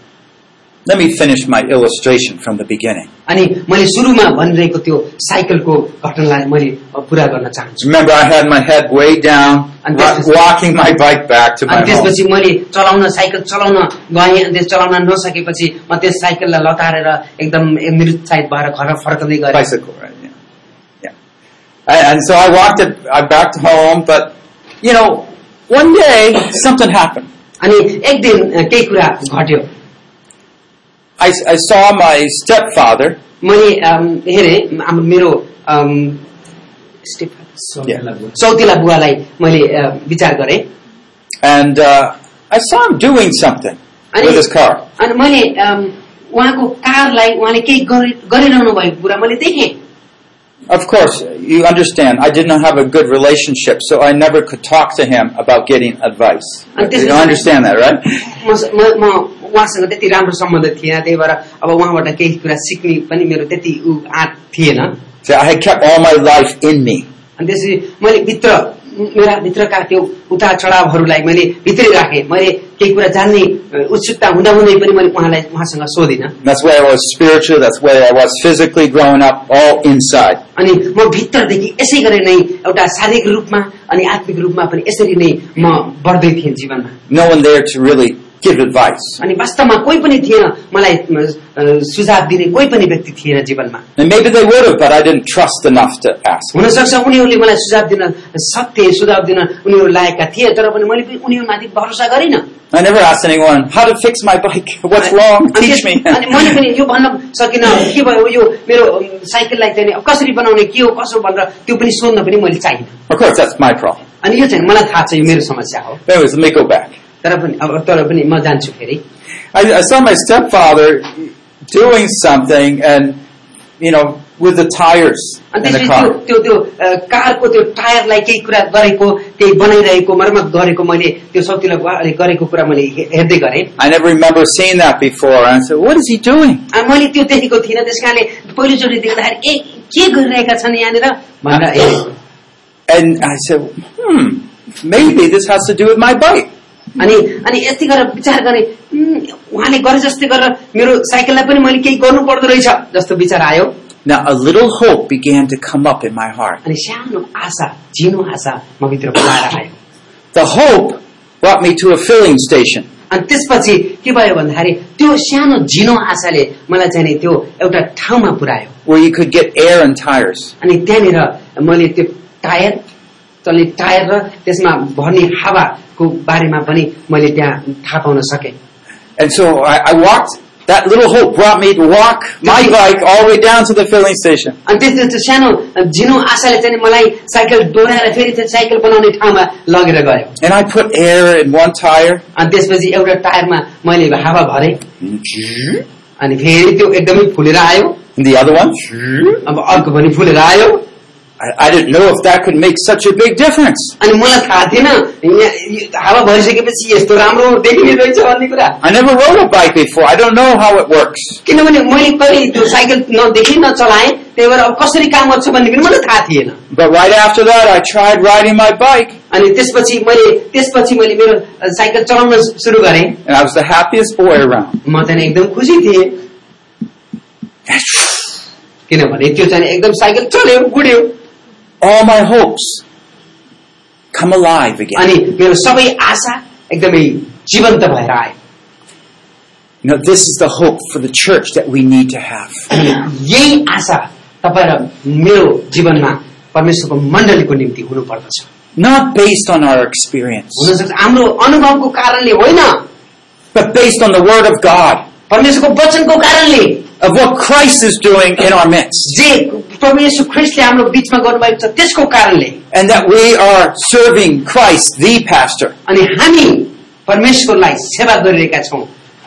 [SPEAKER 1] Let me finish my illustration from the beginning.
[SPEAKER 2] अनि मैले सुरुमा भनिरहेको त्यो साइकलको घटनालाई मैले पुरा गर्न चाहन्छु
[SPEAKER 1] Remember, I had my head way down,
[SPEAKER 2] And
[SPEAKER 1] wa-
[SPEAKER 2] this is-
[SPEAKER 1] walking my bike back to
[SPEAKER 2] अनि
[SPEAKER 1] my home.
[SPEAKER 2] त्यसपछि मैले चलाउन साइकल चलाउन गएँ अनि त्यस चलाउन नसकेपछि म त्यस साइकललाई लतारेर एकदम निरुत्साहित भएर घर फर्कँदै गरेँ
[SPEAKER 1] bicycle, right? Yeah. yeah. And, and so I walked it I back to home, but you know, one day something happened.
[SPEAKER 2] अनि एक दिन अ, केही कुरा घट्यो
[SPEAKER 1] I, I saw my stepfather.
[SPEAKER 2] मैले अम, हेरेँ हाम्रो- मेरो अम, स्टेप- सौतिला बुवालाई मैले अ, विचार गरेँ
[SPEAKER 1] And uh, I saw him doing something
[SPEAKER 2] अनि
[SPEAKER 1] with his car.
[SPEAKER 2] अनि मैले अम, उहाँको कारलाई उहाँले केही गरे- गरिरहनु भएको कुरा मैले देखेँ
[SPEAKER 1] Of course, you understand, I did not have a good relationship, so I never could talk to him about getting advice.
[SPEAKER 2] And this
[SPEAKER 1] You
[SPEAKER 2] is-
[SPEAKER 1] understand that, right?
[SPEAKER 2] म म- म उहाँसँग त्यति राम्रो सम्बन्ध थिएन त्यही भएर अब उहाँबाट केही कुरा सिक्ने पनि मेरो त्यति ऊ आँट थिएन अनि
[SPEAKER 1] So I had kept all my life in me.
[SPEAKER 2] त्यसपछि मैले भित्र मेरा भित्रका त्यो उता चढावहरूलाई मैले भित्रै राखेँ मैले केही कुरा जान्ने अ, उत्सुकता हुँदाहुँदै पनि मैले उहाँलाई उहाँसँग सोधिनँ
[SPEAKER 1] That's where I was spiritually, that's where I was physically growing up, all inside.
[SPEAKER 2] अनि म भित्रदेखि यसै गरी नै एउटा शारीरिक रूपमा अनि आत्मिक रूपमा पनि यसरी नै म बढ्दै थिएँ जीवनमा
[SPEAKER 1] No one there to really give advice.
[SPEAKER 2] अनि वास्तवमा कोही पनि थिएन मलाई अ, सुझाव दिने कोही पनि व्यक्ति थिएन जीवनमा
[SPEAKER 1] And maybe they would have, but I didn't trust enough to ask.
[SPEAKER 2] हुनसक्छ उनीहरूले मलाई सुझाव दिन सक्थे सुझाव दिन उनीहरू लागेका थिए तर पनि मैले पनि उनीहरूमाथि भरोसा गरिनँ
[SPEAKER 1] I never asked anyone how to fix my bike. What's wrong?
[SPEAKER 2] अनि
[SPEAKER 1] Teach
[SPEAKER 2] त्यस-
[SPEAKER 1] me.
[SPEAKER 2] अनि मैले पनि यो भन्न सकिनँ के भयो यो मेरो अम, साइकललाई चाहिँ नि कसरी बनाउने के हो कसो भनेर त्यो पनि सोध्न पनि मैले चाहिनँ
[SPEAKER 1] of course, that's my problem.
[SPEAKER 2] अनि यो चाहिँ मलाई थाहा छ यो मेरो समस्या हो
[SPEAKER 1] Anyways, let me go back.
[SPEAKER 2] तर पनि अब तर पनि म जान्छु फेरि
[SPEAKER 1] I, I saw my stepfather doing something, and you know, with the tires in
[SPEAKER 2] अनि
[SPEAKER 1] the
[SPEAKER 2] त्यसपछि त्यो
[SPEAKER 1] car.
[SPEAKER 2] त्यो त्यो अ, कारको त्यो टायरलाई केही कुरा गरेको केही बनाइरहेको मर्मत गरेको मैले त्यो सौतिला बुवाले गरेको कुरा मैले हे- हेर्दै गरेँ
[SPEAKER 1] I never remember seeing that before. And I said, "What is he doing?"
[SPEAKER 2] अनि मैले त्यो देखेको थिइनँ त्यस कारणले पहिलोचोटि देख्दाखेरि ए के गरिरहेका छन् यहाँनिर भनेर हेरेँ
[SPEAKER 1] And I said, "Hmm, maybe this has to do with my bike."
[SPEAKER 2] अनि अनि यति गरेर विचार गरेँ "उम्, उहाँले गरे जस्तै गरेर मेरो साइकललाई पनि मैले केही गर्नु पर्दो रहेछ जस्तो विचार आयो
[SPEAKER 1] Now, a little hope began to come up in my heart.
[SPEAKER 2] अनि सानो आशा झिनो आशा म भित्र बोलाएर आयो
[SPEAKER 1] The hope brought me to a filling station.
[SPEAKER 2] अनि त्यसपछि के भयो भन्दाखेरि त्यो सानो झिनो आशाले मलाई चाहिँ नि त्यो एउटा ठाउँमा पुर्यायो
[SPEAKER 1] where you could get air and tires.
[SPEAKER 2] अनि त्यहाँनिर मैले त्यो टायर चल्ने टायर र त्यसमा भर्ने हावाको बारेमा पनि मैले त्यहाँ थाहा पाउन सकेँ
[SPEAKER 1] And so I, I walked. That little hope brought me to walk my
[SPEAKER 2] Did you-
[SPEAKER 1] bike all the way down to the filling station.
[SPEAKER 2] अनि त्यस्तो त्यो सानो झिनो आशाले चाहिँ नि मलाई साइकल डोराएर फेरि त्यो साइकल बनाउने ठाउँमा लगेर गयो
[SPEAKER 1] And I put air in one tire.
[SPEAKER 2] अनि त्यसपछि एउटा टायरमा मैले हावा भरेँ अनि फेरि त्यो एकदमै फुलेर आयो
[SPEAKER 1] And the other one,
[SPEAKER 2] अब अर्को पनि फुलेर आयो
[SPEAKER 1] I, I didn't know if that could make such a big difference.
[SPEAKER 2] अनि मलाई थाहा थिएन यहाँ- यो हावा भरिसकेपछि यस्तो राम्रो देखिने रहेछ भन्ने कुरा
[SPEAKER 1] I never rode a bike before. I don't know how it works.
[SPEAKER 2] किनभने मैले कहिले त्यो साइकल नदेखि नचलाएँ त्यही भएर अब कसरी काम गर्छ भन्ने पनि मलाई थाहा थिएन
[SPEAKER 1] But right after that, I tried riding my bike,
[SPEAKER 2] अनि त्यसपछि मैले त्यसपछि मैले मेरो अ, साइकल चलाउन सुरु गरेँ
[SPEAKER 1] and I was the happiest boy around.
[SPEAKER 2] म चाहिँ एकदम खुसी थिएँ किनभने त्यो चाहिँ एकदम साइकल चल्यो गुड्यो
[SPEAKER 1] All my hopes come alive again.
[SPEAKER 2] अनि मेरो सबै आशा एकदमै जीवन्त भएर आयो
[SPEAKER 1] You know, this is the hope for the church that we need to have.
[SPEAKER 2] अनि यही आशा तपाईँ र मेरो जीवनमा परमेश्वरको मण्डलीको निम्ति हुनुपर्दछ
[SPEAKER 1] Not based on our experience.
[SPEAKER 2] हुनसक्छ हाम्रो अनुभवको कारणले होइन
[SPEAKER 1] but based on the Word of God,
[SPEAKER 2] परमेश्वरको वचनको कारणले
[SPEAKER 1] of what Christ is doing in our midst,
[SPEAKER 2] जे परमेश्वर ख्रिस्टले हाम्रो बीचमा गर्नुभएको छ त्यसको कारणले
[SPEAKER 1] and that we are serving Christ, the pastor.
[SPEAKER 2] अनि हामी परमेश्वरलाई सेवा गरिरहेका छौं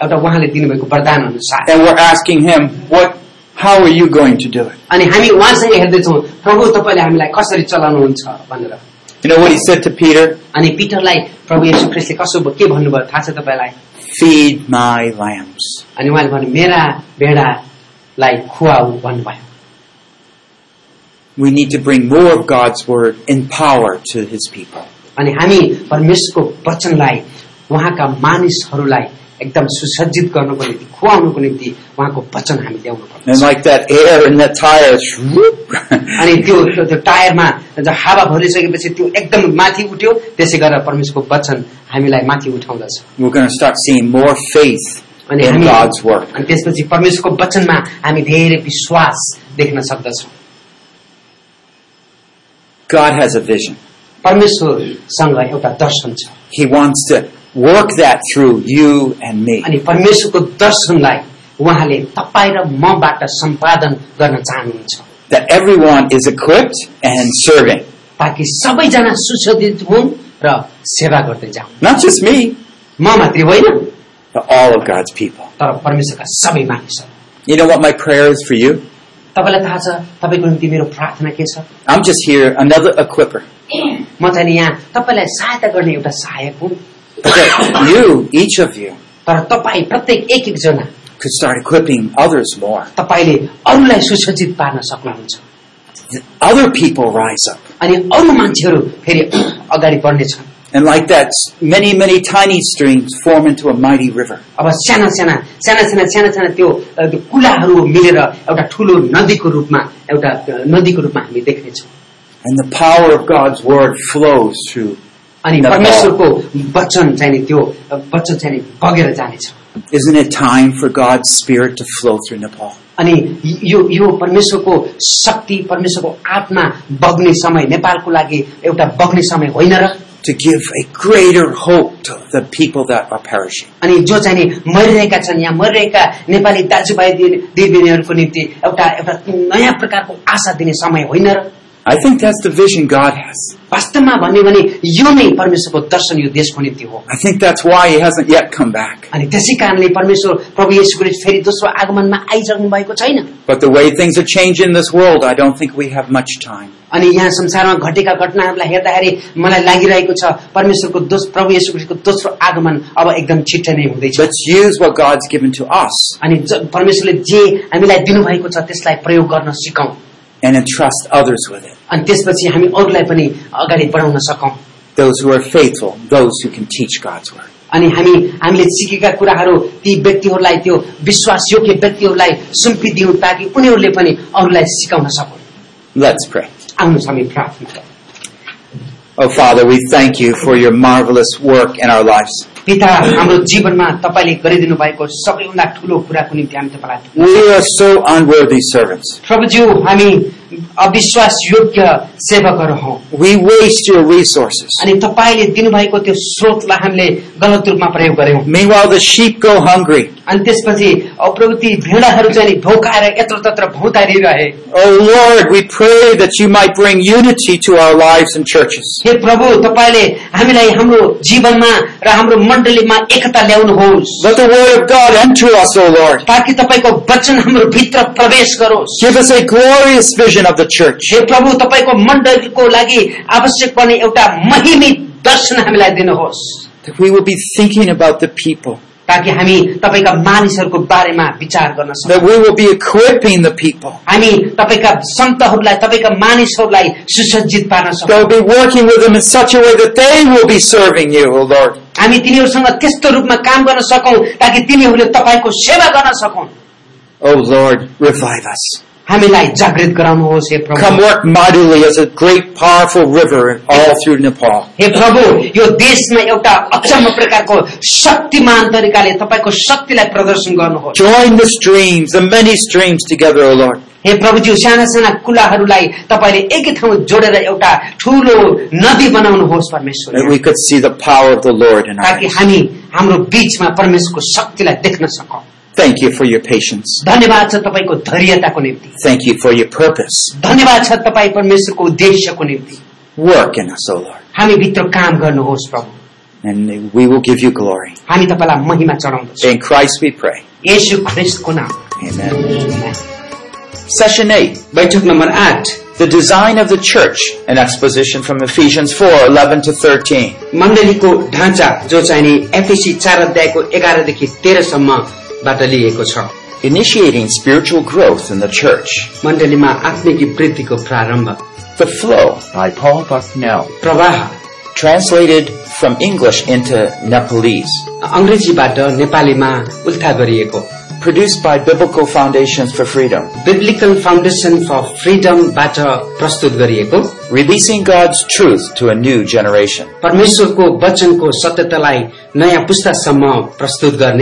[SPEAKER 2] एउटा उहाँले दिनुभएको वरदान अनुसार
[SPEAKER 1] And we're asking Him, what, how are you going to do it?
[SPEAKER 2] अनि हामी उहाँसँग हेर्दैछौँ प्रभु तपाईँले हामीलाई कसरी चलाउनुहुन्छ भनेर
[SPEAKER 1] You know what He said to Peter?
[SPEAKER 2] अनि पिटरलाई प्रभु येशू ख्रिस्टले कसो भ- के भन्नुभयो थाहा छ तपाईँलाई
[SPEAKER 1] Feed my lambs.
[SPEAKER 2] अनि उहाँले भन्नु मेरा भेडालाई खुवाऊ भन्नुभयो
[SPEAKER 1] We need to bring more of God's Word in power to His people.
[SPEAKER 2] अनि हामी परमेश्वरको वचनलाई उहाँका मानिसहरूलाई एकदम सुसज्जित गर्नको निम्ति खुवाउनको निम्ति उहाँको वचन हामी ल्याउनु पर्छ
[SPEAKER 1] And like that air in that tire, whoop,
[SPEAKER 2] अनि त्यो त्यो- त्यो टायरमा जब हावा भरिसकेपछि त्यो एकदम माथि उठ्यो त्यसै गरेर परमेश्वरको वचन हामीलाई माथि उठाउँदछ
[SPEAKER 1] we're going to start seeing more faith
[SPEAKER 2] अनि
[SPEAKER 1] in
[SPEAKER 2] हामी
[SPEAKER 1] God's work.
[SPEAKER 2] अनि त्यसपछि परमेश्वरको वचनमा हामी धेरै विश्वास देख्न सक्दछौँ
[SPEAKER 1] God has a vision.
[SPEAKER 2] परमेश्वरसँग एउटा दर्शन छ
[SPEAKER 1] He wants to work that through you and me.
[SPEAKER 2] अनि परमेश्वरको दर्शनलाई उहाँले तपाईँ र मबाट सम्पादन गर्न चाहनुहुन्छ
[SPEAKER 1] That everyone is equipped and serving.
[SPEAKER 2] ताकि सबैजना सुसज्जित हुन् र सेवा गर्दै जाउन्
[SPEAKER 1] Not just me,
[SPEAKER 2] म मात्रै होइन
[SPEAKER 1] but all of God's people.
[SPEAKER 2] तर परमेश्वरका सबै मानिसहरू
[SPEAKER 1] You know what my prayer is for you?
[SPEAKER 2] तपाईँलाई थाहा छ तपाईँको निम्ति मेरो प्रार्थना के छ
[SPEAKER 1] I'm just here, another equipper.
[SPEAKER 2] म चाहिँ नि यहाँ तपाईँलाई सहायता गर्ने एउटा सहायक हुँ
[SPEAKER 1] But that you, each of you,
[SPEAKER 2] तर तपाईँ प्रत्येक एक एकजना
[SPEAKER 1] could start equipping others more.
[SPEAKER 2] तपाईँले अरूलाई सुसज्जित पार्न सक्नुहुन्छ
[SPEAKER 1] Other people rise up.
[SPEAKER 2] अनि अरू मान्छेहरू फेरि अगाडि बढ्नेछन्
[SPEAKER 1] And like that, many, many tiny streams form into a mighty river.
[SPEAKER 2] अब साना साना साना साना साना साना त्यो अ, त्यो कुलाहरू मिलेर एउटा ठुलो नदीको रूपमा एउटा अ, नदीको रूपमा हामी देख्नेछौँ
[SPEAKER 1] And the power of God's word flows through.
[SPEAKER 2] अनि
[SPEAKER 1] धन्यवाद।
[SPEAKER 2] परमेश्वरको वचन चाहिँ नि त्यो अ, वचन चाहिँ नि बगेर जानेछ
[SPEAKER 1] Isn't it time for God's spirit to flow through Nepal?
[SPEAKER 2] अनि यो यो परमेश्वरको शक्ति परमेश्वरको आत्मा बग्ने समय नेपालको लागि एउटा बग्ने समय होइन र
[SPEAKER 1] To give a greater hope to the people that are perishing.
[SPEAKER 2] अनि जो चाहिँ नि मरिरहेका छन् यहाँ मरिरहेका नेपाली दाजुभाइ दि- दिदीबहिनीहरूको निम्ति एउटा एउटा नयाँ प्रकारको आशा दिने समय होइन र
[SPEAKER 1] I think that's the vision God has.
[SPEAKER 2] वास्तवमा भन्यो भने यो नै परमेश्वरको दर्शन यो देशको निम्ति हो
[SPEAKER 1] I think that's why He hasn't yet come back.
[SPEAKER 2] अनि त्यसै कारणले परमेश्वर प्रभु येशू ख्रीष्ट फेरि दोस्रो आगमनमा आइसक्नु भएको छैन
[SPEAKER 1] But the way things are changing in this world, I don't think we have much time.
[SPEAKER 2] अनि यहाँ संसारमा घटेका घटनाहरूलाई हेर्दाखेरि मलाई लागिरहेको छ परमेश्वरको दोस प्रभु येशू ख्रीष्टको दोस्रो आगमन अब एकदम छिट्टै नै हुँदैछ
[SPEAKER 1] Let's use what God's given to us
[SPEAKER 2] अनि ज- परमेश्वरले जे हामीलाई दिनुभएको छ त्यसलाई प्रयोग गर्न सिकौं
[SPEAKER 1] and entrust others with it.
[SPEAKER 2] अनि त्यसपछि हामी अरूलाई पनि अगाडि बढाउन सकौं
[SPEAKER 1] Those who are faithful, those who can teach God's word.
[SPEAKER 2] अनि हामी हामीले सिकेका कुराहरू ती व्यक्तिहरूलाई त्यो विश्वासयोग्य व्यक्तिहरूलाई सुम्पिदिउँ ताकि उनीहरूले पनि अरूलाई सिकाउन सकुन्
[SPEAKER 1] Let's pray.
[SPEAKER 2] आउनुहोस् हामी प्रार्थना गरौँ।
[SPEAKER 1] Oh, Father, we thank you for your marvelous work in our lives.
[SPEAKER 2] पिता हाम्रो जीवनमा तपाईँले गरिदिनु भएको सबैभन्दा ठुलो कुराको निम्ति हामी तपाईँलाई
[SPEAKER 1] We are so unworthy servants.
[SPEAKER 2] प्रभुज्यू हामी अविश्वास योग्य सेवकहरू हौ
[SPEAKER 1] We waste your resources.
[SPEAKER 2] अनि तपाईँले दिनुभएको त्यो स्रोतलाई हामीले गलत रूपमा प्रयोग गर्यौं
[SPEAKER 1] Meanwhile, the sheep go hungry.
[SPEAKER 2] अनि त्यसपछि अ, प्रभु ती भेडाहरू चाहिँ नि भौकाएर यत्र तत्र भौतारिरहे
[SPEAKER 1] Oh, Lord, we pray that you might bring unity to our lives and churches.
[SPEAKER 2] हे प्रभु तपाईँले हामीलाई हाम्रो जीवनमा र हाम्रो मण्डलीमा एकता ल्याउनुहोस्
[SPEAKER 1] Let the word of God enter us, O Lord.
[SPEAKER 2] ताकि तपाईँको वचन हाम्रो भित्र प्रवेश गरोस्
[SPEAKER 1] Give us a glorious vision of the church.
[SPEAKER 2] हे प्रभु तपाईँको मण्डलीको लागि आवश्यक पर्ने एउटा महिमित दर्शन हामीलाई दिनुहोस्
[SPEAKER 1] That we will be thinking about the people.
[SPEAKER 2] ताकि हामी तपाईँका मानिसहरूको बारेमा विचार गर्न सकौँ
[SPEAKER 1] That we will be equipping the people.
[SPEAKER 2] हामी तपाईँका सन्तहरूलाई तपाईँका मानिसहरूलाई सुसज्जित पार्न सकौँ
[SPEAKER 1] That we'll be working with them in such a way that they will be serving you, O Lord.
[SPEAKER 2] हामी तिनीहरूसँग त्यस्तो रूपमा काम गर्न सकौँ ताकि तिनीहरूले तपाईँको सेवा गर्न सकौँ
[SPEAKER 1] O Lord, revive us.
[SPEAKER 2] हामीलाई जागृत गराउनुहोस् हे
[SPEAKER 1] Come
[SPEAKER 2] Prabhu
[SPEAKER 1] work mightily as a great, powerful river all through Nepal.
[SPEAKER 2] हे प्रभु यो देशमा एउटा अचम्म प्रकारको शक्तिमान तरिकाले तपाईँको शक्तिलाई प्रदर्शन गर्नुहोस्
[SPEAKER 1] Join the streams, the many streams together, O Lord.
[SPEAKER 2] हे प्रभुज्यू साना साना कुलाहरूलाई तपाईँले एकै ठाउँ जोडेर एउटा ठुलो नदी बनाउनुहोस् परमेश्वर
[SPEAKER 1] That we could see the power of the Lord in our
[SPEAKER 2] ताकि
[SPEAKER 1] lives.
[SPEAKER 2] हामी हाम्रो बीचमा परमेश्वरको शक्तिलाई देख्न सकौँ
[SPEAKER 1] Thank you for your patience.
[SPEAKER 2] धन्यवाद छ तपाईँको धैर्यताको निम्ति
[SPEAKER 1] Thank you for your purpose.
[SPEAKER 2] धन्यवाद छ तपाईँ परमेश्वरको उद्देश्यको निम्ति
[SPEAKER 1] Work in us, O Lord.
[SPEAKER 2] हामी भित्र काम गर्नुहोस् प्रभु
[SPEAKER 1] And we will give you glory.
[SPEAKER 2] हामी तपाईँलाई महिमा चढाउँदछौँ
[SPEAKER 1] In Christ we pray.
[SPEAKER 2] येशू ख्रिस्टको नाम
[SPEAKER 1] Amen. Session 8.
[SPEAKER 2] बैठक नम्बर आठ
[SPEAKER 1] The design of the church. An exposition from Ephesians 4, 11 to 13.
[SPEAKER 2] मण्डलीको ढाँचा जो चाहिने एफएसी चार अध्यायको एघारदेखि तेह्रसम्मबाट लिएको छ
[SPEAKER 1] Initiating spiritual growth in the church.
[SPEAKER 2] मण्डलीमा आत्मिक वृद्धिको प्रारम्भ
[SPEAKER 1] The flow.
[SPEAKER 5] by Paul Bucknell.
[SPEAKER 2] प्रवाह
[SPEAKER 1] Translated from English into Nepalese,
[SPEAKER 2] अङ्ग्रेजीबाट नेपालीमा उल्था गरिएको
[SPEAKER 1] produced by Biblical Foundations for Freedom,
[SPEAKER 2] biblical foundation for फ्रिडमबाट प्रस्तुत गरिएको
[SPEAKER 1] releasing God's truth to a new generation.
[SPEAKER 2] परमेश्वरको वचनको सत्यतालाई नयाँ पुस्तासम्म प्रस्तुत गर्ने